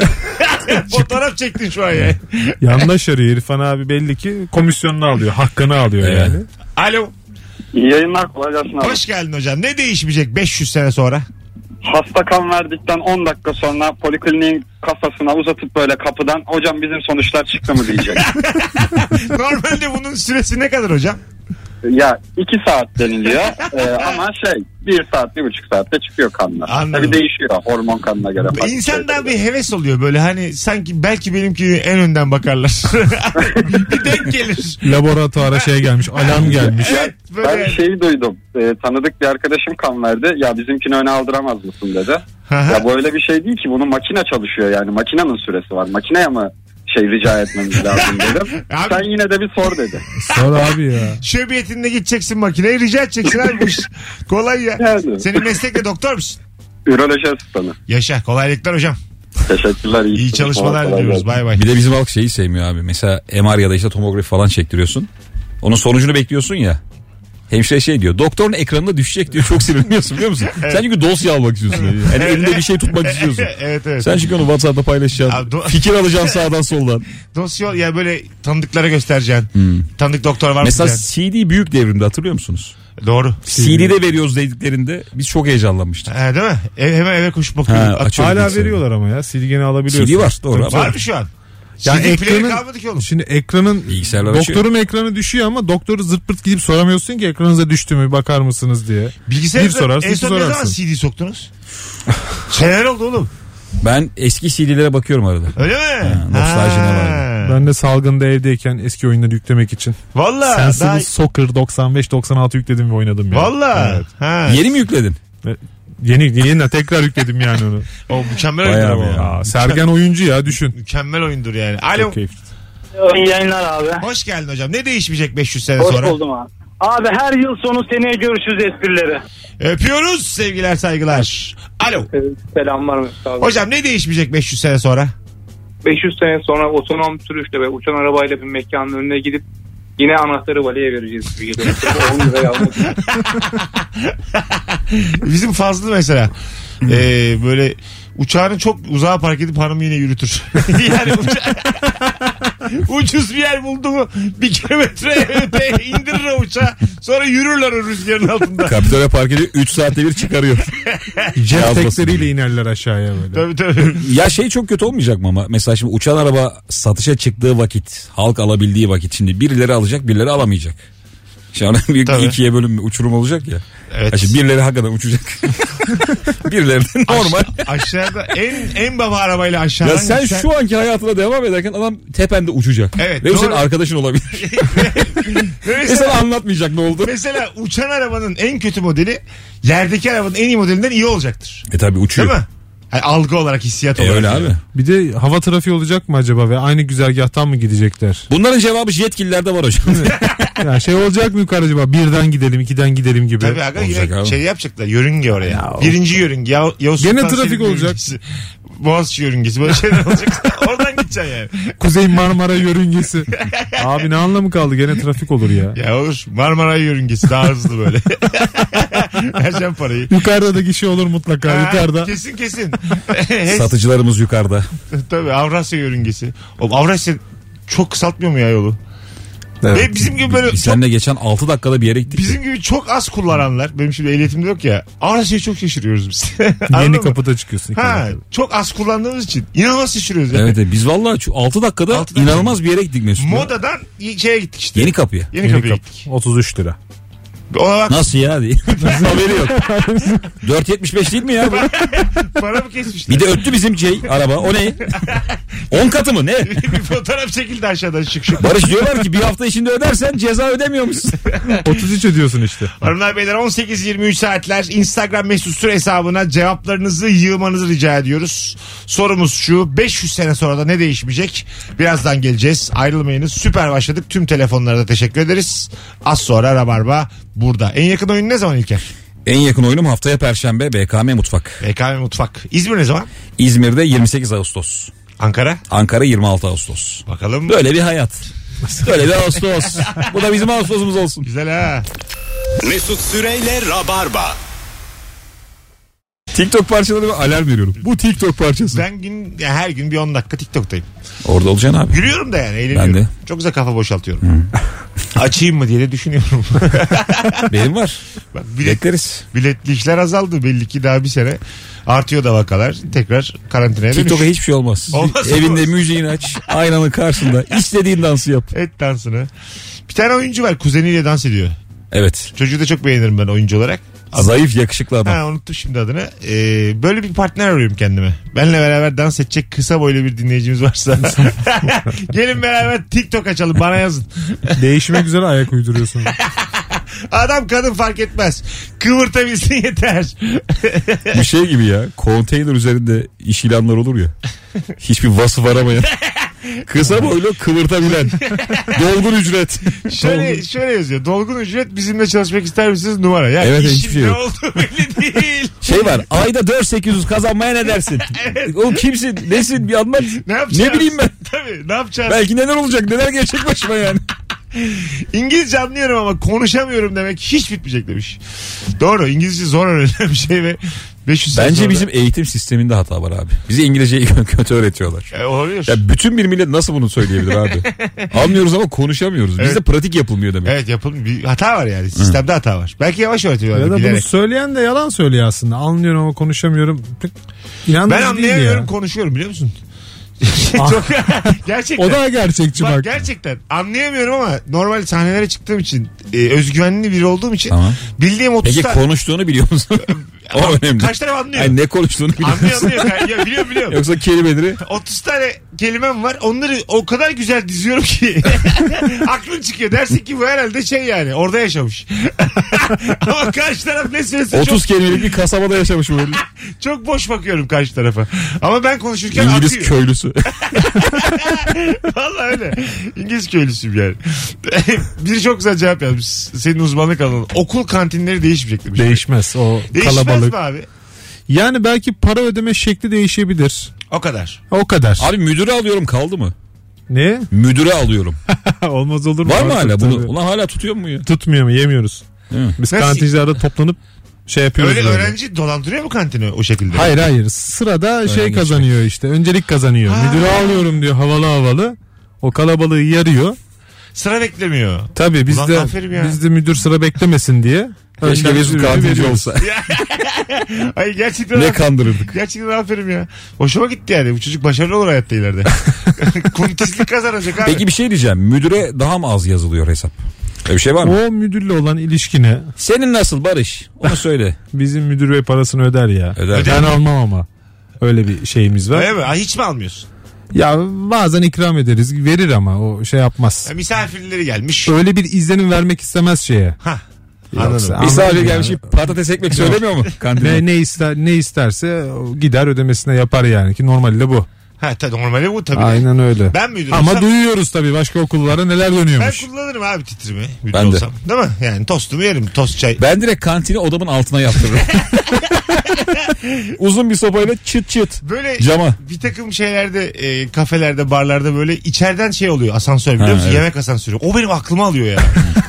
S2: fotoğraf çektin şu an ya.
S3: Yandaş arıyor İrfan abi belli ki komisyonunu alıyor. Hakkını alıyor
S4: Evet.
S3: yani.
S2: Alo.
S6: İyi yayınlar kolay gelsin abi.
S2: Hoş geldin hocam. Ne değişmeyecek 500 sene sonra?
S6: Hasta kan verdikten 10 dakika sonra polikliniğin kafasına uzatıp böyle kapıdan hocam bizim sonuçlar çıktı mı diyecek.
S2: Normalde bunun süresi ne kadar hocam?
S6: ya 2 saat deniliyor Ee, ama şey 1 saat 1,5 saatte çıkıyor kanlar.
S2: Anladım.
S6: Tabii değişiyor hormon kanına göre. farklı
S2: İnsandan
S6: şeyler.
S2: bir heves oluyor böyle hani sanki belki benimki en önden bakarlar. bir denk gelir.
S3: Laboratuvara şey gelmiş. Alarm gelmiş.
S2: Evet
S6: Ben
S2: böyle.
S6: şeyi duydum. Ee, tanıdık bir arkadaşım kan verdi. Ya bizimkini öne aldıramaz mısın dedi.
S2: Hı hı.
S6: Ya böyle bir şey değil ki. Bunun makine çalışıyor yani. Makinenin süresi var. Makineye mi şey rica etmemiz lazım dedim.
S2: Abi-
S6: Sen yine de bir sor dedi.
S3: Sor abi ya.
S2: Şöbiyetinde gideceksin makineye rica edeceksin abi bu iş. Kolay ya.
S6: Yani.
S2: Senin meslekte doktor musun?
S6: Üroloji asistanı.
S2: Yaşa kolaylıklar hocam.
S6: Teşekkürler.
S2: İyi çalışmalar
S6: Kolay
S2: diliyoruz. Bay
S6: gelsin.
S2: bay.
S4: Bir de bizim halk şeyi sevmiyor abi. Mesela MR ya da işte tomografi falan çektiriyorsun. Onun sonucunu bekliyorsun ya. Hemşire şey diyor. Doktorun ekranına düşecek diyor. Çok sinirleniyorsun biliyor musun? Sen çünkü dosya almak istiyorsun. Yani, Yani elinde bir şey tutmak istiyorsun.
S2: evet evet.
S4: Sen çünkü onu WhatsApp'ta
S2: Abi
S4: paylaşacaksın.
S2: do-
S4: Fikir alacaksın sağdan soldan.
S2: Dosya ya böyle tanıdıklara göstereceksin. Tanıdık doktor var mı?
S4: Hmm. Mesela
S2: diyeceksin.
S4: CD büyük devrimde hatırlıyor musunuz?
S2: Doğru.
S4: CD'de veriyoruz dediklerinde biz çok heyecanlanmıştık.
S2: Ha, değil mi? Ev, hemen eve koşup
S4: Ha,
S2: bakıyorum.
S4: açıyorum
S3: Hala
S4: bilgisayarı.
S3: veriyorlar ama ya silgeni alabiliyorsun.
S4: CD var doğru ama
S2: var mı şu an?
S3: Ya
S2: Yani ekranın...
S3: ekranın-
S2: kalmadı ki oğlum.
S3: Şimdi ekranın
S4: Bilgisayarlar açıyor.
S3: doktorun ekranı düşüyor ama doktoru zırt pırt gidip soramıyorsun ki ekranınıza düştü mü bakar mısınız diye. Bir
S2: Bilgisayarınıza
S3: sorarsın,
S2: en
S3: iki
S2: son ne zaman
S3: sorarsın.
S2: CD soktunuz? Seneler oldu oğlum.
S4: Ben eski CD'lere bakıyorum arada.
S2: Öyle mi?
S4: Ha, nostaljine
S3: Ben de salgında evdeyken eski oyunları yüklemek için
S2: Valla.
S3: Sensible Soccer 95-96 yükledim ve oynadım ya.
S2: Valla. Ha.
S4: Yeni mi yükledin?
S3: Yeni, yeniden tekrar yükledim yani onu.
S2: O mükemmel oyundur
S4: Bayağı
S2: ama
S4: bir
S2: ya.
S3: Aa, Sergen oyuncu ya düşün.
S2: Mükemmel oyundur yani. Alo.
S3: Çok keyifli.
S8: İyi yayınlar abi.
S2: Hoş geldin hocam. Ne değişmeyecek 500 sene
S8: Hoş
S2: sonra?
S8: buldum abi. Abi her yıl sonu seneye görüşürüz esprileri.
S2: Öpüyoruz sevgiler saygılar. Alo.
S9: Selamlar Mesut abi.
S2: Hocam ne değişmeyecek 500 sene sonra?
S9: 500 sene sonra otonom sürüşle ve uçan arabayla bir mekanın önüne gidip yine anahtarı valiye vereceğiz. Bir yıl. On liraya almak.
S2: Bizim Fazlı mesela. Ee, böyle uçağını çok uzağa park edip hanımı yine yürütür. yani uça- ucuz bir yer buldu mu bir kilometre öte indirir o uçağı. Sonra yürürler o rüzgarın altında.
S4: Kapitole park ediyor 3 saatte bir çıkarıyor.
S3: Jet
S4: Yazmasın
S3: tekleriyle
S4: diye.
S3: inerler aşağıya böyle.
S2: tabii tabii.
S4: Ya şey çok kötü olmayacak mı ama? Mesela şimdi uçan araba satışa çıktığı vakit, halk alabildiği vakit şimdi birileri alacak birileri alamayacak. Şimdi ona büyük bir
S2: Tabii.
S4: ikiye bölüm uçurum olacak ya.
S2: Evet.
S4: Ya şimdi birileri hakikaten uçacak. birileri de normal.
S2: Aşağıda en en baba arabayla aşağıdan.
S4: Ya sen
S2: düşen-
S4: şu anki hayatına devam ederken adam tepende uçacak.
S2: Evet,
S4: Ve bu
S2: doğru.
S4: senin arkadaşın olabilir. Ve
S2: mesela,
S4: sana anlatmayacak ne oldu.
S2: mesela uçan arabanın en kötü modeli yerdeki arabanın en iyi modelinden iyi olacaktır.
S4: E tabi uçuyor.
S2: Değil mi? Yani algı olarak hissiyat
S4: E
S2: olarak.
S4: öyle abi.
S3: Bir de hava trafiği olacak mı acaba ve aynı güzergahtan mı gidecekler?
S4: Bunların cevabı yetkililerde var hocam.
S3: ya şey olacak mı yukarı acaba birden gidelim ikiden gidelim gibi.
S2: Tabii aga
S4: Olacak
S2: yine
S4: abi.
S2: şey yapacaklar yörünge oraya. Birinci yörünge. Ya, Yavuz
S3: Gene
S2: Sultan
S3: trafik
S2: Selim
S3: olacak.
S2: yörüngesi. Boğaziçi yörüngesi böyle şeyler olacak. Oradan gideceksin yani.
S3: Kuzey Marmara yörüngesi. Abi ne anlamı kaldı gene trafik olur ya.
S2: Ya olur Marmara yörüngesi daha hızlı böyle. Vereceğim parayı.
S3: Yukarıda da kişi olur mutlaka
S2: Ha,
S3: yukarıda.
S2: Kesin kesin. Hes-
S4: Satıcılarımız yukarıda.
S2: Tabii Avrasya yörüngesi. Oğlum Avrasya çok kısaltmıyor mu ya yolu?
S3: Evet.
S2: Ve bizim gibi böyle
S4: Biz
S2: çok,
S4: seninle geçen 6 dakikada bir yere gittik. ya.
S2: bizim gibi çok az kullananlar. Benim şimdi ehliyetim de yok ya. Avrasya'ya çok şaşırıyoruz biz. Anladın
S3: Yeni
S2: mı?
S3: kapıda çıkıyorsun.
S2: Ha, çok az kullandığımız için inanılmaz şaşırıyoruz. Yani.
S4: Evet evet. biz vallahi 6 dakikada
S2: Altı dakika.
S4: inanılmaz bir yere gittik Mesut. ya.
S2: Modadan y- şeye gittik işte.
S4: Yeni kapıya.
S2: Yeni,
S3: Yeni
S2: kapıya
S3: kapı.
S2: gittik.
S3: 33 lira.
S2: Ona bak
S4: Nasıl ya diye. Haberi yok. 4.75 değil mi ya? bu?
S2: para mı kesmişler?
S4: Bir de öttü bizim şey araba. O ne? 10 katı mı ne?
S2: bir fotoğraf çekildi aşağıdan şık şık.
S4: Barış diyorlar ki bir hafta içinde ödersen ceza ödemiyormuşsun.
S3: 33 ödüyorsun işte.
S2: Hanımlar beyler 18-23 saatler Instagram mesut süre hesabına cevaplarınızı yığmanızı rica ediyoruz. Sorumuz şu 500 sene sonra da ne değişmeyecek? Birazdan geleceğiz ayrılmayınız süper başladık tüm telefonlara da teşekkür ederiz. Az sonra Rabarba burada. En yakın oyun ne zaman İlker?
S4: En yakın oyunum haftaya Perşembe BKM Mutfak.
S2: BKM Mutfak. İzmir ne zaman?
S4: İzmir'de 28 Ağustos.
S2: Ankara.
S4: Ankara 26 Ağustos.
S2: Bakalım.
S4: Böyle bir hayat. Böyle bir Ağustos. Bu da bizim Ağustos'umuz olsun.
S2: Güzel ha.
S1: Mesut Süreyle Rabarba.
S4: TikTok parçalarına alarm veriyorum. Bu TikTok parçası.
S2: Ben gün, ya her gün bir 10 dakika TikTok'tayım.
S4: Orada olacaksın abi.
S2: Gülüyorum da yani eğleniyorum.
S4: Ben de.
S2: Çok güzel kafa boşaltıyorum. Açayım mı diye de düşünüyorum.
S4: Benim var.
S2: Bak bilet,
S4: Bekleriz.
S2: biletli işler azaldı belli ki daha bir sene. Artıyor da vakalar. Tekrar karantinaya dönüş.
S4: TikTok'a hiçbir şey olmaz.
S2: Olmaz,
S4: Evinde
S2: olmaz.
S4: müziğini aç. Aynanın karşısında. İstediğin dansı yap.
S2: Et dansını. Bir tane oyuncu var kuzeniyle dans ediyor.
S4: Evet.
S2: Çocuğu da çok beğenirim ben oyuncu olarak.
S4: Zayıf yakışıklı adam.
S2: Ha unuttum şimdi adını. Ee, böyle bir partner arıyorum kendime. Benle beraber dans edecek kısa boylu bir dinleyicimiz varsa. Gelin beraber TikTok açalım bana yazın.
S3: Değişmek üzere ayak uyduruyorsun.
S2: Adam kadın fark etmez. Kıvırtabilsin yeter.
S4: Bir şey gibi ya. Konteyner üzerinde iş ilanları olur ya. Hiçbir vasıf aramayan. Kısa boylu kıvırtabilen. Dolgun ücret.
S2: Şöyle, şöyle yazıyor. Dolgun ücret bizimle çalışmak ister misiniz numara. Ya
S4: Evet,
S2: işin
S4: hiçbir şey
S2: ne
S4: yok.
S2: olduğu belli değil.
S4: Şey var ayda 4800 kazanmaya ne dersin? O kimsin nesin bir anlat.
S2: Ne yapacağız?
S4: ne bileyim ben.
S2: Tabii ne yapacağız?
S4: Belki neler olacak neler gerçek başıma yani.
S2: İngilizce anlıyorum ama konuşamıyorum demek hiç bitmeyecek demiş. Doğru İngilizce zor öğrenilen bir şey ve 500 sene
S4: Bence
S2: sonra-
S4: bizim eğitim sisteminde hata var abi. Bize İngilizceyi kötü öğretiyorlar.
S2: E, olabilir.
S4: Ya bütün bir millet nasıl bunu söyleyebilir abi? Anlıyoruz ama konuşamıyoruz. Bizde
S2: Evet.
S4: pratik yapılmıyor demek.
S2: Evet yapılmış bir hata var yani sistemde hata var. Belki yavaş öğretiyorlar
S3: Ya da bunu
S2: bilerek.
S3: söyleyen de yalan söylüyor aslında. Anlıyorum ama konuşamıyorum. Pek İnandırıcı
S2: Ben
S3: değil
S2: anlayamıyorum
S3: ya.
S2: konuşuyorum biliyor musun? Çok gerçekten.
S3: O da gerçekçi
S2: Bak,
S3: bak.
S2: gerçekten anlayamıyorum ama normal sahnelere çıktığım için e, özgüvenli biri olduğum için
S4: Tamam.
S2: bildiğim 30
S4: Peki
S2: tane
S4: konuştuğunu biliyor musun? o önemli.
S2: kaç tane anlıyor?
S4: Ay, ne konuştuğunu biliyor
S2: Anlıyor
S4: musun?
S2: anlıyor. Ya, biliyorum biliyorum.
S4: Yoksa kelimeleri
S2: 30 tane kelimem var. Onları o kadar güzel diziyorum ki aklın çıkıyor. Dersin ki bu herhalde şey yani orada yaşamış. Ama karşı taraf ne söylese
S4: 30 kelimelik bir kasabada yaşamış bu herif.
S2: çok, çok boş bakıyorum karşı tarafa. Ama ben konuşurken
S4: İngiliz
S2: akıyor.
S4: köylüsü.
S2: Vallahi öyle. İngiliz köylüsüyüm yani. Biri çok güzel cevap yazmış. Senin uzmanlık alanın. Okul kantinleri değişmeyecek demiş.
S3: Değişmez o
S2: Değişmez
S3: kalabalık.
S2: mi abi?
S3: Yani belki para ödeme şekli değişebilir.
S2: O kadar.
S3: O kadar.
S4: Abi müdüre alıyorum kaldı mı?
S3: Ne?
S4: Müdüre alıyorum.
S3: Olmaz olur mu?
S4: Var mı
S3: Artık
S4: hala bunu?
S3: tabii.
S4: Ulan hala tutuyor mu ya?
S3: Tutmuyor mu? Yemiyoruz.
S4: Değil mi?
S3: Biz
S2: Nasıl-
S3: kantincilerde toplanıp şey yapıyoruz.
S2: Öyle
S3: böyle.
S2: öğrenci dolandırıyor mu kantini o şekilde?
S3: Hayır hayır. Sırada şey
S4: geçmek.
S3: kazanıyor işte. Öncelik kazanıyor. Müdürü alıyorum diyor havalı havalı. O kalabalığı yarıyor.
S2: Sıra beklemiyor.
S3: Tabii biz
S2: Ulan
S3: de
S2: aferin ya.
S3: biz de müdür sıra beklemesin diye.
S4: Keşke
S3: önden
S4: Mesut
S3: ürünü
S4: kantinci
S3: veriyoruz.
S4: olsa.
S2: Ay gerçekten
S4: ne kandırırdık.
S2: Gerçekten aferin ya. Hoşuma gitti yani. Bu çocuk başarılı olur hayatta ileride. Kuntislik kazanacak abi.
S4: Peki bir şey diyeceğim. Müdüre daha mı az yazılıyor hesap? Öyle bir şey var mı?
S3: O müdürle olan ilişkine
S4: Senin nasıl Barış? Onu söyle.
S3: bizim müdür bey parasını öder ya.
S4: Öder. Öder
S3: Ben almam ama. Öyle bir şeyimiz var.
S2: Öyle mi? Ay, hiç mi almıyorsun?
S3: Ya bazen ikram ederiz. Verir ama o şey yapmaz.
S2: Ya, misafirleri gelmiş.
S3: Öyle bir izlenim vermek istemez şeye.
S2: Hah.
S3: Yoksa-
S2: Anladım.
S4: Misafir
S3: Anladım
S4: gelmiş
S3: yani.
S4: patates ekmek söylemiyor mu?
S3: Ne,
S4: Kantine.
S3: ne ister ne isterse o gider ödemesine yapar yani ki normali de bu.
S2: Ha, ta, normali bu tabii.
S3: Aynen öyle.
S2: Ben müdürüm.
S3: Ama
S2: Sen-
S3: duyuyoruz tabii başka okullara neler
S2: Ben
S3: dönüyormuş.
S2: kullanırım abi titrimi. Müdür
S4: Ben de.
S2: olsam. Değil mi? Yani tostumu yerim. Tost çay.
S4: Ben direkt kantini odamın altına yaptırırım. Uzun bir sopayla çıt
S3: Şey-
S4: çıt.
S2: Böyle
S4: Cama.
S2: bir takım şeylerde e, kafelerde barlarda böyle içeriden şey oluyor asansör biliyor
S4: Ha,
S2: musun?
S4: evet.
S2: Yemek asansörü. O benim aklıma alıyor ya.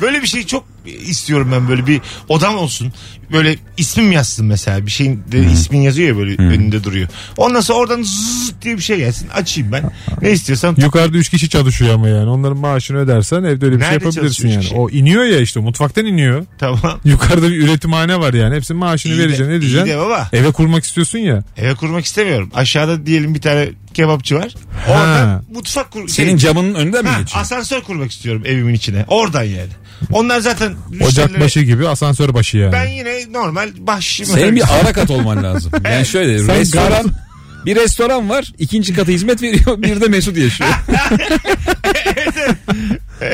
S2: böyle bir şey çok istiyorum ben böyle bir odam olsun. Böyle ismim yazsın mesela bir şeyin de ismin yazıyor ya böyle önünde duruyor. Ondan sonra oradan zzz diye bir şey gelsin açayım ben. Ne istiyorsam
S3: Yukarıda 3 kişi çalışıyor ama yani onların maaşını ödersen evde öyle bir
S2: Nerede
S3: şey yapabilirsin
S2: çalışıyor
S3: yani.
S2: üç kişi?
S3: O iniyor ya işte mutfaktan iniyor.
S2: tamam.
S3: Yukarıda bir üretimhane var yani. Hepsinin maaşını
S2: İyi de-
S3: vereceksin,
S2: iyi
S3: ne diyeceksin?
S2: de baba.
S3: Eve kurmak istiyorsun ya.
S2: Eve kurmak istemiyorum. Aşağıda diyelim bir tane kebapçı var.
S3: Ha.
S2: Oradan mutfak kur. şey-
S4: Senin camının önünden mi
S2: Ha,
S4: geçiyor?
S2: asansör kurmak istiyorum evimin içine. Oradan yani. Onlar zaten müşterilere-
S3: Ocak başı gibi, asansör başı yani.
S2: Ben yine normal başımı
S4: Senin bir ara kat olman lazım. Yani şöyle
S3: Sen
S4: restoran
S3: garip-
S4: bir restoran var. ikinci kata hizmet veriyor. Bir de Mesut yaşıyor.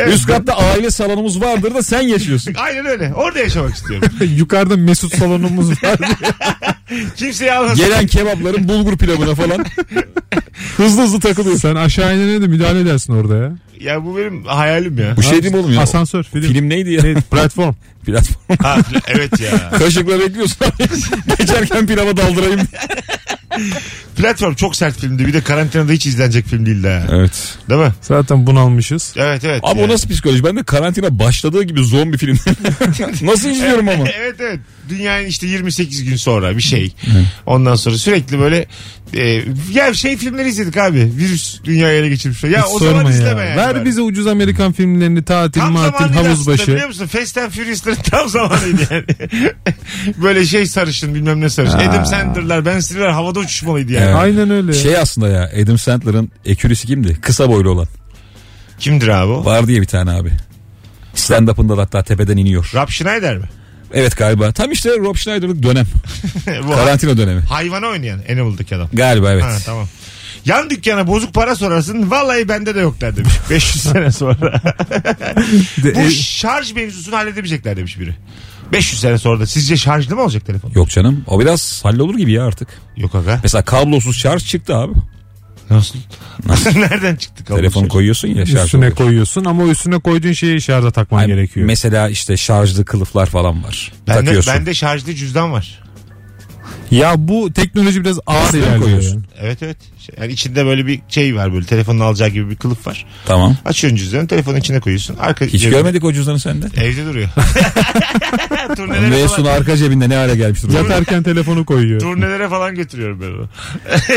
S4: Üst katta aile salonumuz vardır da sen yaşıyorsun.
S2: Aynen öyle. Orada yaşamak istiyorum.
S3: Yukarıda Mesut salonumuz var.
S2: Kimseyi almasın.
S4: Gelen kebapların bulgur pilavına falan.
S3: hızlı hızlı takılıyor. Sen aşağı inene de müdahale edersin orada ya.
S2: Ya bu benim hayalim ya.
S4: Bu şey değil mi oğlum ya?
S3: Asansör, film.
S4: Film neydi ya?
S3: Ne, platform.
S4: Şey, Platform.
S2: Ha, evet ya.
S4: Kaşıkla bekliyorsun. Geçerken pilava daldırayım.
S2: Platform çok sert filmdi. Bir de karantinada hiç izlenecek film değildi ha.
S4: Evet.
S2: Değil mi?
S3: Zaten bunalmışız.
S2: Evet evet.
S4: Abi
S2: ya.
S4: o nasıl psikoloji? Ben de karantina başladığı gibi zombi film. nasıl izliyorum ama?
S2: Evet evet. Dünyanın işte 28 gün sonra bir şey. Ondan sonra sürekli böyle e, ya şey filmleri izledik abi. Virüs dünyayı ele geçirmişler. Ya
S3: Hiç
S2: o
S3: sorma
S2: zaman
S3: ya.
S2: izleme yani.
S3: Ver
S2: bari.
S3: bize ucuz Amerikan filmlerini tatil,
S2: Tam
S3: matil,
S2: zamanıydı
S3: havuz
S2: aslında,
S3: başı.
S2: Biliyor musun? Fast and Furious'ların tam zamanıydı yani. Böyle şey sarışın bilmem ne sarışın. Adam Sandler'lar, Ben Stiller'lar havada uçuşmalıydı yani.
S4: Evet.
S3: Aynen öyle.
S4: Şey aslında ya Adam Sandler'ın ekürisi kimdi? Kısa boylu olan.
S2: Kimdir abi o?
S4: Var diye bir tane abi. Stand-up'ında da hatta tepeden iniyor.
S2: Rob Schneider mi?
S4: Evet galiba. Tam işte Rob Schneider'lık dönem.
S2: Bu
S4: Karantina dönemi.
S2: hayvanı oynayan Animal'daki adam.
S4: Galiba evet.
S2: Ha, tamam. Yan dükkana bozuk para sorarsın. Vallahi bende de yok der demiş. 500 sene sonra.
S3: De-
S2: Bu
S3: e,
S2: şarj mevzusunu halledemeyecekler demiş biri. 500 sene sonra da sizce şarjlı mı olacak telefon?
S4: Yok canım. O biraz hallolur gibi ya artık.
S2: Yok aga.
S4: Mesela kablosuz şarj çıktı abi.
S2: Nasıl? Nereden çıktı kablo
S4: Telefon
S2: şarjı?
S4: koyuyorsun ya şarj
S3: üstüne
S4: oluyor.
S3: koyuyorsun ama o üstüne koyduğun şeyi şarja takman
S4: Ay,
S3: gerekiyor.
S4: Mesela işte şarjlı kılıflar falan var.
S2: Bende,
S4: Takıyorsun.
S2: bende şarjlı cüzdan var.
S3: Ya bu teknoloji biraz ağır
S4: Üstüne mi
S3: ilerliyor.
S4: koyuyorsun?
S3: yani.
S2: Evet evet. Şey, Yani içinde böyle bir şey var böyle telefonun alacağı gibi bir kılıf var.
S4: Tamam.
S2: Açıyorsun cüzdanı telefonun içine koyuyorsun. Arka
S4: Hiç
S2: cebine-
S4: görmedik o cüzdanı sende.
S2: Evde duruyor. turnelere,
S4: Resul
S2: falan,
S4: arka cebinde ne hale gelmiştir.
S3: Yatarken telefonu koyuyor.
S2: turnelere falan götürüyorum ben onu.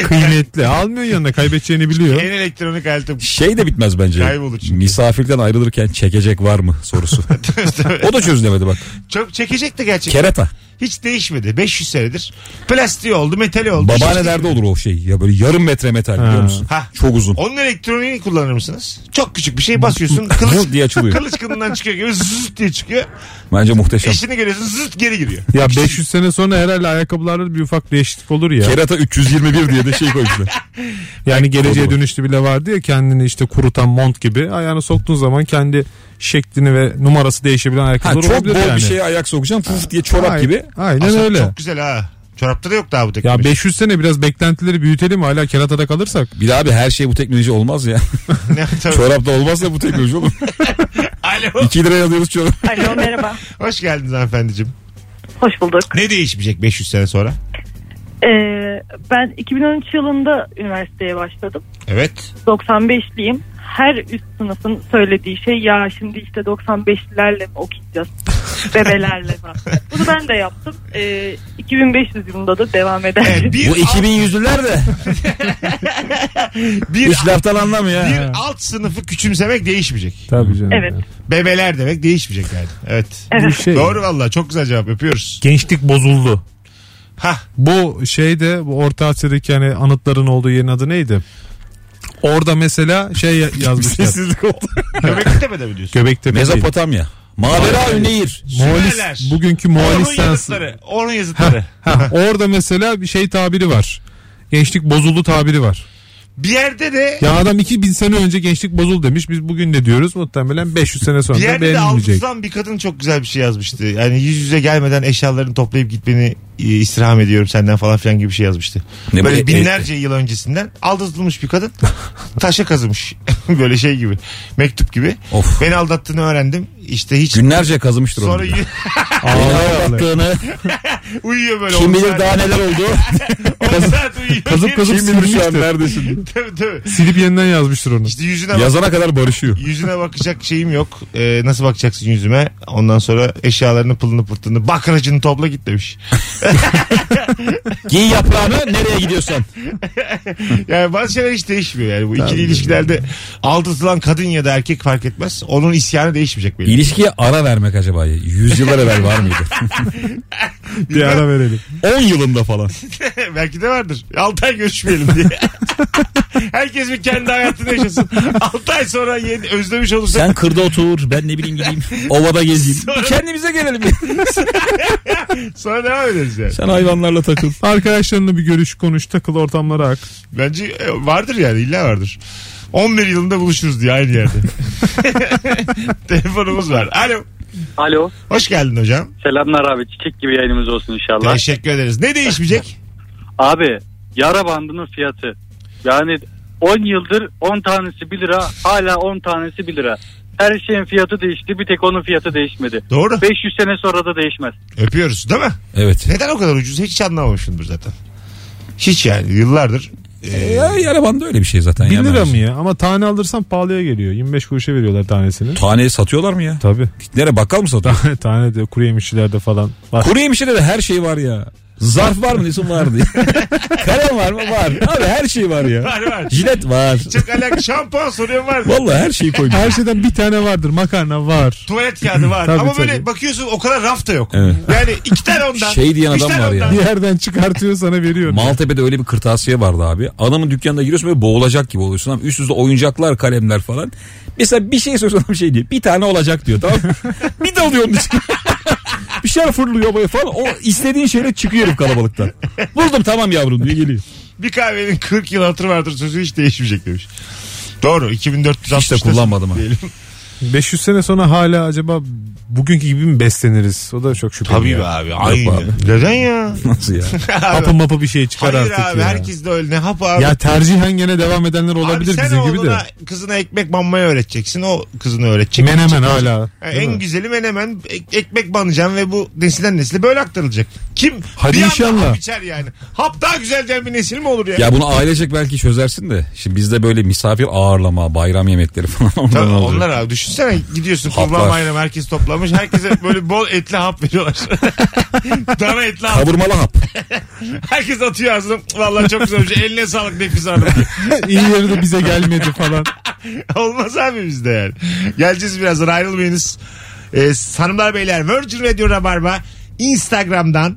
S3: Kıymetli. Almıyor yanına kaybedeceğini biliyor.
S2: en elektronik aletim.
S4: Şey de bitmez bence.
S2: Kaybolur çünkü.
S4: Misafirden ayrılırken çekecek var mı sorusu. o da çözülemedi bak.
S2: Çok çekecek de gerçekten.
S4: Kerata.
S2: Hiç değişmedi. 500 senedir. Plastiği oldu, metali oldu. Hiç-
S4: Babaanelerde olur o şey. Ya böyle yarım metre metal biliyor musun?
S2: Ha.
S4: Çok uzun.
S2: Onun elektroniğini kullanır mısınız? Çok küçük bir şey basıyorsun. Kılıç,
S4: Vur diye açılıyor.
S2: kılıç kılından çıkıyor gibi zıt diye çıkıyor.
S4: Bence muhteşem.
S2: Eşini görüyorsun zıt geri giriyor.
S3: Ya 500 sene sonra herhalde ayakkabılarda bir ufak değişiklik olur ya.
S4: Kerata 321 diye de şey koymuşlar.
S3: Yani geleceğe
S4: Doğru.
S3: dönüştü bile vardı ya kendini işte kurutan mont gibi. Ayağını soktuğun zaman kendi şeklini ve numarası değişebilen
S4: Ha,
S3: ayakkabılar
S4: çok
S3: olabilir
S4: bol
S3: yani.
S4: bir şeye ayak sokacaksın fuf diye çorap
S3: Ay-
S4: gibi.
S3: Aynen
S2: Aslında
S3: öyle.
S2: Çok güzel ha. Çorapta da yok daha bu teknoloji.
S3: Ya 500 sene biraz beklentileri büyütelim hala keratada kalırsak.
S4: Bir de abi her şey bu teknoloji olmaz ya.
S2: Ne- tabii.
S4: çorap da olmaz ya bu teknoloji olur.
S2: Alo.
S4: 2 liraya alıyoruz çorap.
S10: Alo merhaba.
S2: Hoş geldiniz hanımefendiciğim.
S10: Hoş bulduk.
S2: Ne değişmeyecek 500 sene sonra?
S10: Ee, ben 2013 yılında üniversiteye başladım.
S2: Evet.
S10: 95'liyim. Her üst sınıfın söylediği şey ya şimdi işte 95'lilerle mi okuyacağız? Bebelerle mi? Bunu ben de yaptım. Ee, 2500 yılında da devam eder.
S2: Evet, bir,
S4: Bu 2100'lüler de
S2: alt, bir,
S4: hiç laftan anlamıyor
S2: bir
S4: ya.
S2: alt sınıfı küçümsemek değişmeyecek.
S3: Tabii canım.
S10: Evet.
S2: Bebeler demek değişmeyecek yani. Evet.
S10: Evet.
S3: Şey,
S2: Doğru valla çok güzel cevap yapıyoruz.
S3: Gençlik bozuldu.
S2: Ha
S3: Bu şeyde bu Orta Asya'daki hani anıtların olduğu yerin adı neydi? Orada mesela şey ya- yazmışlar.
S4: Sessizlik oldu.
S2: göbekli tepede mi diyorsun?
S3: Göbektepe değil.
S4: Mezopotamya. Mavera Üneyir.
S2: Sümerler.
S3: Moğolis, bugünkü
S2: Onun
S3: Moğolistan.
S2: yazıtları. Onun yazıtları.
S3: Ha, orada mesela bir şey tabiri var. Gençlik bozuldu tabiri var.
S2: bir yerde de
S3: Ya adam 2000 sene önce gençlik bozul demiş. Biz bugün ne diyoruz? Muhtemelen 500 sene sonra
S2: Bir
S3: da
S2: yerde de
S3: beğenilmeyecek.
S2: altından bir kadın çok güzel bir şey yazmıştı. Yani yüz yüze gelmeden eşyalarını toplayıp gitmeni e, istirham ediyorum senden falan filan gibi bir şey yazmıştı.
S4: Ne e,
S2: böyle
S4: bu-
S2: binlerce yıl öncesinden aldatılmış bir kadın taşa kazımış. böyle şey gibi mektup gibi.
S4: Of.
S2: Beni aldattığını öğrendim. İşte hiç
S4: Günlerce kazımıştır onu.
S2: sonra
S4: Beni
S2: y-
S4: aldattığını
S2: uyuyor böyle.
S4: kim
S2: on
S4: bilir
S2: saat-
S4: daha neler oldu.
S2: on saat uyuyor.
S3: Kazıp kazıp
S4: kim bilir şu an
S3: silmiştir.
S4: neredesin.
S2: Tabii, tabii.
S3: Silip yeniden yazmıştır onu.
S2: İşte yüzüne bak-
S4: Yazana kadar barışıyor.
S2: Yüzüne bakacak şeyim yok. Ee, nasıl bakacaksın yüzüme? Ondan sonra eşyalarını pılını pırtını bakracını topla git demiş.
S4: Giy yaprağını nereye gidiyorsan.
S2: Yani bazı şeyler hiç değişmiyor yani bu ikili ilişkilerde aldatılan kadın ya da erkek fark etmez. Onun isyanı değişmeyecek benim.
S4: İlişkiye ara vermek acaba yüzyıllar evvel var mıydı?
S3: Bir ara verelim.
S4: 10 yılında falan.
S2: Belki de vardır. 6 ay görüşmeyelim diye. Herkes bir kendi hayatını yaşasın. 6 ay sonra yeni, özlemiş olursa
S4: Sen kırda otur ben ne bileyim gideyim. Ovada gezeyim.
S2: Sonra-
S4: Kendimize gelelim.
S2: sonra devam ederiz yani.
S4: Sen hayvanlarla takıl.
S3: Arkadaşlarınla bir görüş konuş takıl ortamlara ak.
S2: Bence e, vardır yani illa vardır. 11 yılında buluşuruz diye aynı yerde. Telefonumuz var. Alo.
S6: Alo.
S2: Hoş geldin hocam.
S6: Selamlar abi. Çiçek gibi yayınımız olsun inşallah.
S2: Teşekkür ederiz. Ne değişmeyecek?
S6: Abi yara bandının fiyatı. Yani 10 yıldır 10 tanesi 1 lira hala 10 tanesi 1 lira. Her şeyin fiyatı değişti bir tek onun fiyatı değişmedi.
S2: Doğru.
S6: 500 sene sonra da değişmez.
S2: Öpüyoruz değil mi?
S4: Evet.
S2: Neden o kadar ucuz hiç anlamamışımdır zaten. Hiç yani yıllardır. Ee,
S4: Ya yarabanda öyle bir şey zaten.
S3: 1000
S4: ya
S3: lira
S4: mevzu.
S3: mı ya? Ama tane alırsan pahalıya geliyor. 25 kuruşa veriyorlar tanesini.
S4: Taneyi satıyorlar mı ya?
S3: Tabii.
S4: Nereye bakkal mı satıyor?
S3: Tane, tane de kuru yemişçilerde falan. Bak,
S4: Kuru yemişlere de her şey var ya. Zarf var mı diyorsun var diye. Kalem var mı? Var. Abi her şey var ya.
S2: var var.
S4: Jilet var.
S2: Çok alakalı. Şampuan soruyorum var.
S4: Vallahi her şeyi koymuş.
S3: her şeyden bir tane vardır. Makarna var.
S2: Tuvalet kağıdı var.
S3: Tabii,
S2: Ama böyle
S3: tabii.
S2: bakıyorsun o kadar raf da yok.
S4: Evet.
S2: Yani iki tane ondan.
S4: Şey diyen
S2: üç
S4: adam
S2: tane
S4: var ya.
S2: ondan.
S3: Bir yerden çıkartıyor sana veriyor.
S4: Maltepe'de öyle bir kırtasiye vardı abi. Adamın dükkanına giriyorsun böyle boğulacak gibi oluyorsun. Abi üst üste oyuncaklar, kalemler falan. Mesela bir şey soruyorsun adam şey diyor. Bir tane olacak diyor tamam mı? bir dalıyor onun içine. bir şeyler fırlıyor böyle falan. O istediğin şeyle çıkıyor herif kalabalıktan. Buldum tamam yavrum diyor geliyor.
S2: Bir kahvenin 40 yıl hatırı vardır sözü hiç değişmeyecek demiş. Doğru. 2460
S4: Hiç de kullanmadım ha.
S3: 500 sene sonra hala acaba bugünkü gibi mi besleniriz? O da çok şüpheli.
S2: Tabii
S3: ya.
S2: be abi. Aynı. Neden ya?
S4: Nasıl ya?
S3: Hapı mapı bir şey çıkar
S2: Hayır
S3: artık
S2: abi
S3: ya.
S2: herkes de öyle. Ne hap abi?
S3: Ya tercihen gene devam edenler olabilir
S2: abi sen
S3: bizim gibi de.
S2: oğluna kızına ekmek banmayı öğreteceksin. O kızını öğretecek.
S3: Menemen hala.
S2: Ha,
S3: Değil
S2: en
S3: mi?
S2: güzeli menemen ek- ekmek banacağım ve bu nesilden nesile böyle aktarılacak. Kim
S3: Hadi
S2: bir anda
S3: inşallah.
S2: hap içer yani. Hap daha güzelden bir nesil mi olur ya?
S4: Ya bunu ailecek belki çözersin de. Şimdi bizde böyle misafir ağırlama, bayram yemekleri falan ondan
S2: Tabii
S4: oluyor.
S2: onlar abi düşünsene gidiyorsun kurban
S4: Haplar.
S2: bayramı herkes toplamış. Herkese böyle bol etli hap veriyorlar. Dana etli hap.
S4: Kavurmalı hap.
S2: Herkes atıyor ağzına. Vallahi çok güzel olmuş. Eline sağlık nefis hanım.
S3: İyi yeri de bize gelmedi falan.
S2: Olmaz abi bizde yani. Geleceğiz birazdan ayrılmayınız. Ee, hanımlar beyler Virgin Radio Rabarba Instagram'dan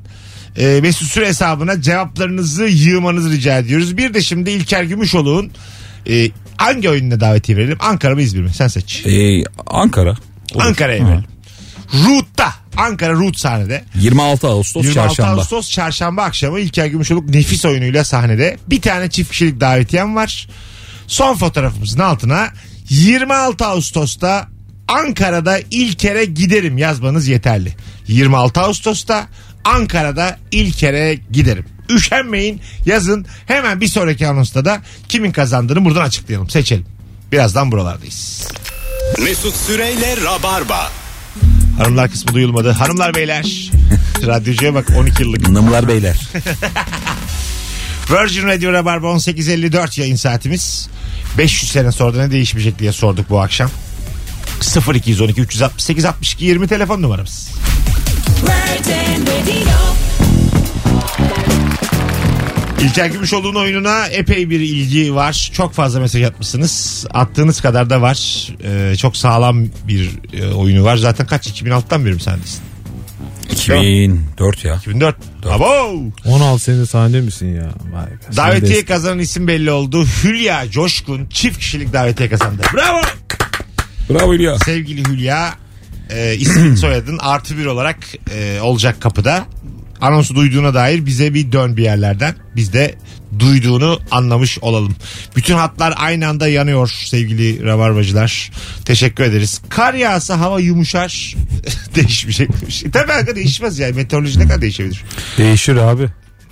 S2: e, Mesut Süre hesabına cevaplarınızı yığmanızı rica ediyoruz. Bir de şimdi İlker Gümüşoğlu'nun e, hangi oyununa davetiye verelim? Ankara mı İzmir mi? Sen seç.
S4: Ee, Ankara.
S2: Ankara'ya verelim. Root'ta. Ankara Root sahnede.
S4: 26 Ağustos
S2: 26
S4: çarşamba.
S2: Ağustos çarşamba akşamı İlker Gümüşoluk nefis oyunuyla sahnede. Bir tane çift kişilik davetiyem var. Son fotoğrafımızın altına 26 Ağustos'ta Ankara'da İlker'e giderim yazmanız yeterli. 26 Ağustos'ta Ankara'da İlker'e giderim. Üşenmeyin yazın hemen bir sonraki anonsta da kimin kazandığını buradan açıklayalım seçelim. Birazdan buralardayız.
S1: Mesut Süreyle Rabarba.
S2: Hanımlar kısmı duyulmadı. Hanımlar beyler. Radyocuya bak 12 yıllık.
S4: Hanımlar beyler.
S2: Virgin Radio Rabarba 18.54 yayın saatimiz. 500 sene sonra da ne değişmeyecek diye sorduk bu akşam. 0212 368 62 20 telefon numaramız. İlker Gümüşoğlu'nun oyununa epey bir ilgi var. Çok fazla mesaj atmışsınız. Attığınız kadar da var. Ee, çok sağlam bir e, oyunu var. Zaten kaç? 2006'dan beri mi sendesin?
S4: 2004 ya.
S2: 2004. Abo!
S3: 16 sene sahnede misin ya? Vay be. Sen
S2: Davetiye
S3: de-
S2: kazanan isim belli oldu. Hülya Coşkun çift kişilik davetiye kazandı. Bravo!
S4: Bravo İlya.
S2: Sevgili Hülya e, isim soyadın artı bir olarak e, olacak kapıda. Anonsu duyduğuna dair bize bir dön bir yerlerden. Biz de duyduğunu anlamış olalım. Bütün hatlar aynı anda yanıyor sevgili rabarbacılar. Teşekkür ederiz. Kar yağsa hava yumuşar. Değişmeyecek demiş. E, Tabii hakikaten değişmez yani. Meteoroloji ne kadar değişebilir?
S3: Değişir abi.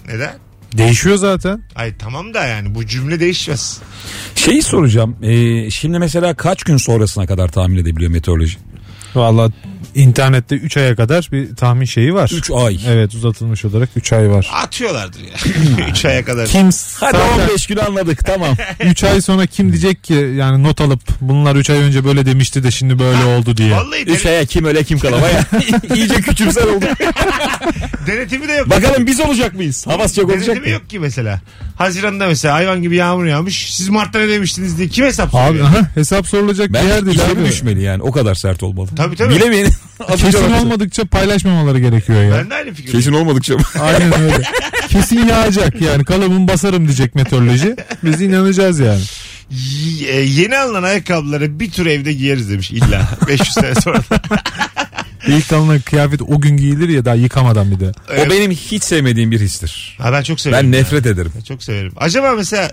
S2: Neden?
S3: Değişiyor zaten.
S2: Ay tamam da yani bu cümle değişmez.
S4: Şeyi soracağım. Ee, şimdi mesela kaç gün sonrasına kadar tahmin edebiliyor meteoroloji?
S3: Valla internette 3 aya kadar bir tahmin şeyi var.
S4: 3 ay.
S3: Evet uzatılmış olarak 3 ay var.
S2: Atıyorlardır ya. 3 aya kadar.
S3: Kim
S4: Hadi 15 gün anladık tamam.
S3: 3 ay sonra kim diyecek ki yani not alıp bunlar 3 ay önce böyle demişti de şimdi böyle oldu diye.
S2: Vallahi
S4: 3
S2: dene-
S4: aya kim öle kim kala. Baya iyice küçümser olduk.
S2: denetimi de yok.
S4: Bakalım biz olacak mıyız? Hava sıcak olacak
S2: Denetimi
S4: mı?
S2: yok ki mesela. Haziranda mesela hayvan gibi yağmur yağmış. Siz Mart'ta ne demiştiniz diye kim hesap
S3: Abi
S2: soruyor?
S3: aha, hesap sorulacak bir yer
S4: Ben
S3: değil
S4: içeri
S3: abi.
S4: düşmeli yani. O kadar sert olmalı.
S2: Tabii tabii.
S4: Bilemeyin.
S3: Kesin olmadıkça paylaşmamaları gerekiyor ya.
S2: Ben de aynı fikirdeyim.
S4: Kesin olmadıkça.
S3: Aynen öyle. Kesin yağacak yani kalıbın basarım diyecek meteoroloji. Biz inanacağız yani.
S2: Y- e, yeni alınan ayakkabıları bir tür evde giyeriz demiş illa. 500 sene sonra.
S3: İlk alınan kıyafet o gün giyilir ya daha yıkamadan bir de.
S4: O benim hiç sevmediğim bir histir.
S2: Ha, ben çok severim.
S4: Ben nefret ederim.
S2: Çok severim. Acaba mesela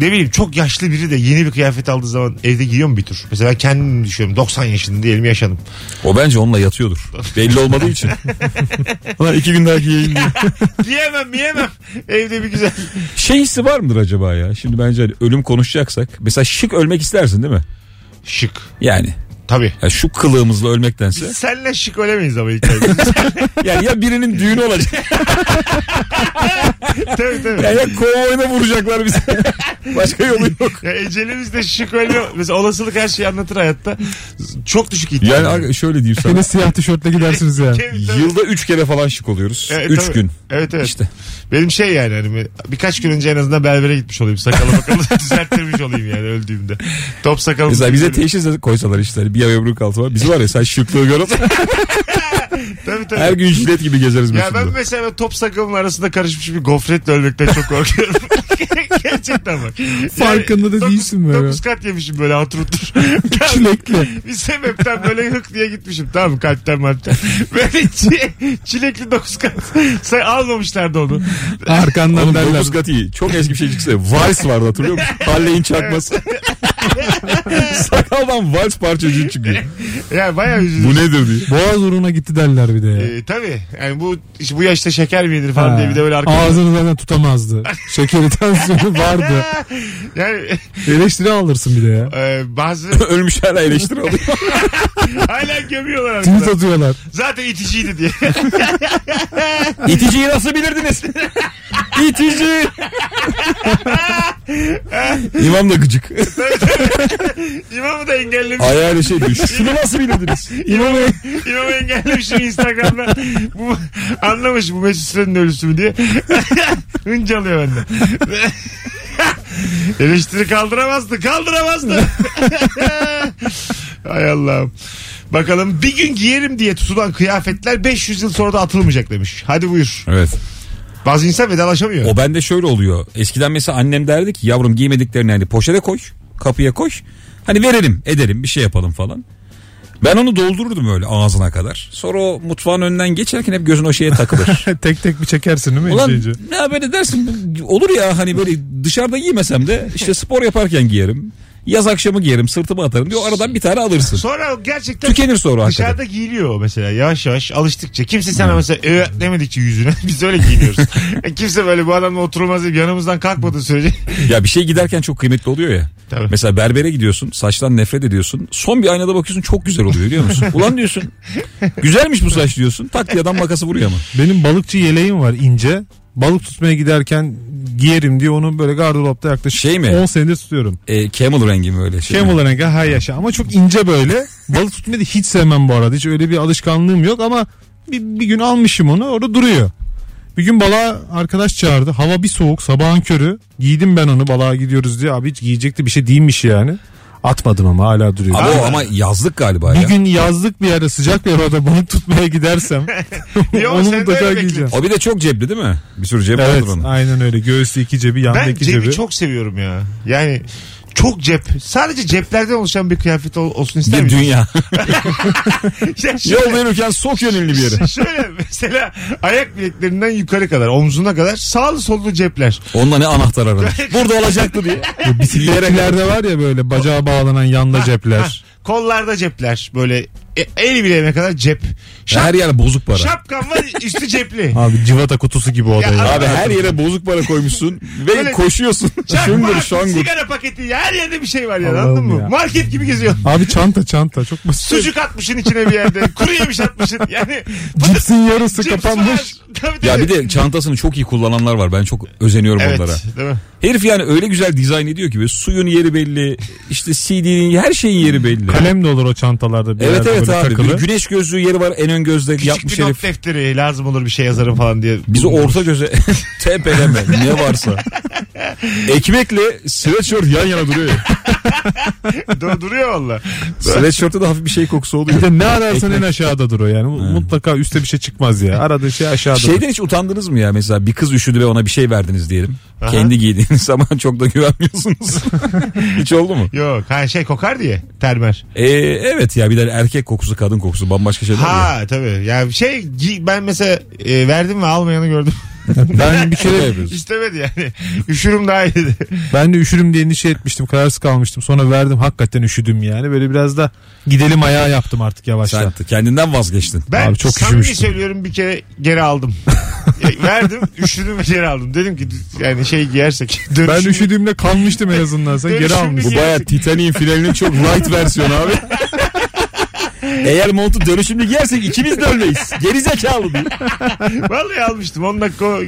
S2: ne bileyim çok yaşlı biri de yeni bir kıyafet aldığı zaman evde giyiyor mu bir tür? Mesela ben kendimi düşünüyorum. 90 yaşında diyelim yaşadım.
S4: O bence onunla yatıyordur. Belli olmadığı için. Ulan iki gün daha giyeyim diye.
S2: Giyemem giyemem. Evde bir güzel.
S4: Şey hissi var mıdır acaba ya? Şimdi bence hani ölüm konuşacaksak. Mesela şık ölmek istersin değil mi?
S2: Şık.
S4: Yani.
S2: Tabii.
S4: ya şu kılığımızla ölmektense.
S2: Biz senle şık ölemeyiz ama ilk önce.
S4: Yani ya birinin düğünü olacak.
S2: tabii tabii.
S4: ya, ya konvoyuna vuracaklar bizi. Başka yolu yok.
S2: Ya ecelimiz de şık ölme. Mesela olasılık her şeyi anlatır hayatta. Çok düşük ihtimal.
S4: Yani aga- şöyle diyeyim sana.
S3: Yine siyah tişörtle gidersiniz yani.
S2: Tabii, tabii.
S4: Yılda üç kere falan şık oluyoruz.
S2: Evet,
S4: üç
S2: tabii.
S4: gün.
S2: Evet evet.
S4: İşte.
S2: Benim şey yani hani birkaç gün önce en azından berbere gitmiş olayım. Sakalı bakalı düzelttirmiş olayım yani öldüğümde. Top sakalımı.
S4: Mesela bize teşhis de koysalar işte hani bir ay ömrü kalsa var. Biz var ya sen şıklığı görüp
S2: Tabii tabii.
S4: her gün jilet gibi gezeriz.
S2: Ya ben
S4: Mesut'la.
S2: mesela top sakalımın arasında karışmış bir gofretle ölmekten çok korkuyorum. Gerçekten bak. Yani
S3: Farkında da
S2: dokuz-
S3: değilsin böyle.
S2: Dokuz kat yemişim böyle hatır otur.
S3: Çilekli.
S2: bir sebepten böyle hık diye gitmişim. Tamam mı? kalpten malpten. Böyle çi- çilekli dokuz kat. Sen almamışlardı onu.
S3: Arkandan
S4: Oğlum
S3: derler.
S4: dokuz kat iyi. Çok eski bir şey çıksa. Vice vardı hatırlıyor musun? Halley'in çakması. Sakaldan vals parçacığı çıkıyor.
S2: Ya bayağı üzücü.
S4: Bu nedir diye.
S3: Boğaz uğruna gitti derler bir de. ya.
S2: Ee, tabii. Yani bu işte bu yaşta şeker mi yenir falan
S3: Ha.
S2: diye bir de böyle arkada.
S3: Ağzını zaten tutamazdı. Şekeri tansiyonu vardı.
S2: Yani
S3: Eleştiri alırsın bir de ya.
S2: e, bazı
S4: Ölmüş hala eleştiri alıyor.
S2: hala gömüyorlar
S3: Tweet
S2: arkada.
S3: atıyorlar.
S2: Zaten iticiydi diye.
S4: İticiyi nasıl bilirdiniz? İtici. İmam da gıcık.
S2: İmamı da engellemiş.
S4: Ayağıyla şey diyor. Şunu nasıl bilirdiniz? İmam Bey.
S2: İmamı engellemişim Instagram'da. Bu, anlamış bu Mesut Süren'in ölüsü mü diye. Hınca alıyor benden. Eleştiri kaldıramazdı. Kaldıramazdı. Hay Allah'ım. Bakalım bir gün giyerim diye tutulan kıyafetler 500 yıl sonra da atılmayacak demiş. Hadi buyur.
S4: Evet.
S2: Bazı insan vedalaşamıyor.
S4: O bende şöyle oluyor. Eskiden mesela annem derdi ki yavrum giymediklerini hani poşete koy. Kapıya koş. Hani verelim edelim bir şey yapalım falan. Ben onu doldururdum öyle ağzına kadar. Sonra o mutfağın önünden geçerken hep gözün o şeye takılır.
S3: tek tek bir çekersin değil mi?
S4: Ulan
S3: izleyici?
S4: ne haber edersin Bu- olur ya hani böyle dışarıda giymesem de işte spor yaparken giyerim. Yaz akşamı giyerim sırtıma atarım diyor aradan bir tane alırsın.
S2: Sonra gerçekten
S4: Tükenir sonra hakikaten.
S2: Dışarıda giyiliyor o mesela yavaş yavaş alıştıkça. Kimse sana mesela "Ö" demedikçe yüzüne biz öyle giyiniyoruz. E, Kimse böyle bu adamla oturulmaz deyip yanımızdan kalkmadığı sürece.
S4: Ya bir şey giderken çok kıymetli oluyor ya.
S2: Tabii.
S4: Mesela berbere gidiyorsun saçtan nefret ediyorsun. Son bir aynada bakıyorsun çok güzel oluyor biliyor musun? Ulan diyorsun güzelmiş bu saç diyorsun. Tak diye adam makası vuruyor ama.
S3: Benim balıkçı yeleğim var ince. Balık tutmaya giderken giyerim diye onu böyle gardıropta yaklaşık
S4: Şey mi?
S3: 10 senedir tutuyorum.
S4: E, camel rengi mi öyle şey? mi?
S3: Camel rengi her yaşa ama çok ince böyle. Balık tutmayı da hiç sevmem bu arada. Hiç öyle bir alışkanlığım yok ama bir, bir gün almışım onu orada duruyor. Bir gün balığa arkadaş çağırdı. Hava bir soğuk sabahın körü. Giydim ben onu balığa gidiyoruz diye. Abi hiç giyecekti bir şey değilmiş yani. Atmadım ama hala duruyor.
S4: Abi o ama yazlık galiba
S3: Bir
S4: ya.
S3: gün yazlık bir yere sıcak bir arada balık tutmaya gidersem
S2: Yo,
S3: onu
S2: sen de
S3: mutlaka
S2: öyle
S3: giyeceğim.
S4: O bir de çok cepli değil mi? Bir sürü cep
S3: Evet
S4: vardır onun.
S3: aynen öyle. Göğsü iki cebi yandaki
S2: Ben cebi
S3: cebi.
S2: çok seviyorum ya. Yani çok cep. Sadece ceplerden oluşan bir kıyafet ol- olsun ister
S4: Bir
S2: miyim?
S4: dünya.
S2: Ya şöyle-
S4: Yol verirken sok yönünlü bir yere.
S2: Şöyle mesela ayak bileklerinden yukarı kadar omzuna kadar sağlı sollu cepler.
S4: Onunla ne anahtar aranır. Burada olacaktı diye.
S3: Bu bisikletlerde var ya böyle bacağa bağlanan yanda cepler.
S2: Kollarda cepler böyle e, el bileğime kadar cep. Şap,
S4: Her yer bozuk para.
S2: şapkan var üstü cepli.
S3: Abi civata kutusu gibi o da
S2: Ya
S3: ya.
S4: Abi her yere bozuk para koymuşsun
S2: Böyle-
S4: ve koşuyorsun. Şungur
S2: Çakmak,
S4: şangur.
S2: sigara paketi her yerde bir şey var ya
S3: Allah'ım
S2: anladın mı?
S3: ya.
S2: Market gibi geziyor.
S3: Abi çanta çanta çok basit.
S2: Sucuk atmışın içine bir yerde. Kuru yemiş atmışın. Yani
S3: Cipsin yarısı
S2: cips
S3: kapanmış.
S2: var. Tabii, tabii.
S4: Ya bir de çantasını çok iyi kullananlar var. Ben çok özeniyorum
S2: evet,
S4: onlara.
S2: Değil mi?
S4: Herif yani öyle güzel dizayn ediyor ki böyle suyun yeri belli, işte CD'nin her şeyin yeri belli.
S3: Kalem de olur o çantalarda bir
S4: Evet
S3: yerde
S4: evet
S3: böyle
S4: abi.
S3: takılı.
S4: Bir Güneş gözlüğü yeri var en ön gözde
S2: Küçük
S4: yapmış
S2: bir not
S4: herif.
S2: defteri lazım olur bir şey yazarım falan diye.
S4: Bizi orta göze tepeleme ne varsa. Ekmekle sweatshirt yan yana duruyor ya.
S2: Dur- duruyor valla.
S4: Sweatshirt'te de hafif bir şey kokusu oluyor.
S3: Bir de ne ararsan en aşağıda dur o yani. Mutlaka üstte bir şey çıkmaz ya. Aradığı şey aşağıda.
S4: Şeyden hiç utandınız mı ya mesela bir kız üşüdü ve ona bir şey verdiniz diyelim.
S2: Aha.
S4: Kendi giydiğiniz zaman çok da güvenmiyorsunuz. hiç oldu mu?
S2: Yok ha şey kokar diye termer.
S4: Ee, evet ya bir de erkek kokusu kadın kokusu bambaşka şeyler ya.
S2: Ha tabii. Ya şey gi- ben mesela e, verdim ve almayanı gördüm.
S3: Ben bir
S4: Şaka
S3: kere
S4: yapıyorsun.
S2: İstemedi yani. Üşürüm daha iyi dedi.
S3: ben de üşürüm diye endişe etmiştim. Kararsız kalmıştım. Sonra verdim hakikaten üşüdüm yani. Böyle biraz da gidelim ayağa yaptım artık yavaştan.
S4: Sen kendinden vazgeçtin.
S2: Ben
S3: Abi çok
S2: samimi
S3: üşümüştüm.
S2: söylüyorum bir kere geri aldım. E, verdim üşüdüm ve geri aldım. Dedim ki yani şey giyersek.
S3: Ben
S2: dönüşüm-
S3: üşüdüğümde kalmıştım en azından. Sen geri
S2: Dönüşümlü
S3: almışsın.
S4: Bu baya Titanic'in finalinin çok light versiyonu abi. Eğer montu dönüşümlü giyersek ikimiz de ölmeyiz. Geri zekalı diye.
S2: Vallahi almıştım. 10 dakika o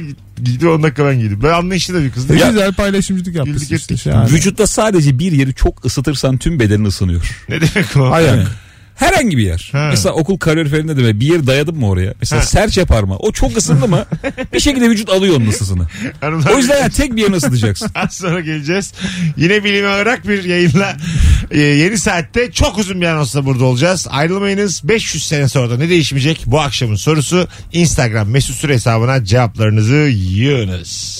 S2: giydi 10 dakika ben giydim. Ben anlayışlı da bir kızdı.
S3: Ne
S2: Ya,
S3: güzel paylaşımcılık yapmışsın
S2: Güldük
S3: işte.
S2: ettik.
S3: şahane.
S4: Vücutta sadece bir yeri çok ısıtırsan tüm bedenin ısınıyor.
S2: ne demek o?
S4: Ayak. Herhangi bir yer.
S2: Ha.
S4: Mesela okul kaloriferinde de böyle bir yeri dayadın mı oraya? Mesela serçe parmağı. O çok ısındı mı bir şekilde vücut alıyor onun ısısını.
S2: Hanımlar,
S4: O yüzden yani tek bir yerini ısıtacaksın.
S2: Az sonra geleceğiz. Yine bilime olarak bir yayınla e, yeni saatte çok uzun bir anonsla burada olacağız. Ayrılmayınız. 500 sene sonra da ne değişmeyecek? Bu akşamın sorusu Instagram mesut süre hesabına cevaplarınızı yığınız.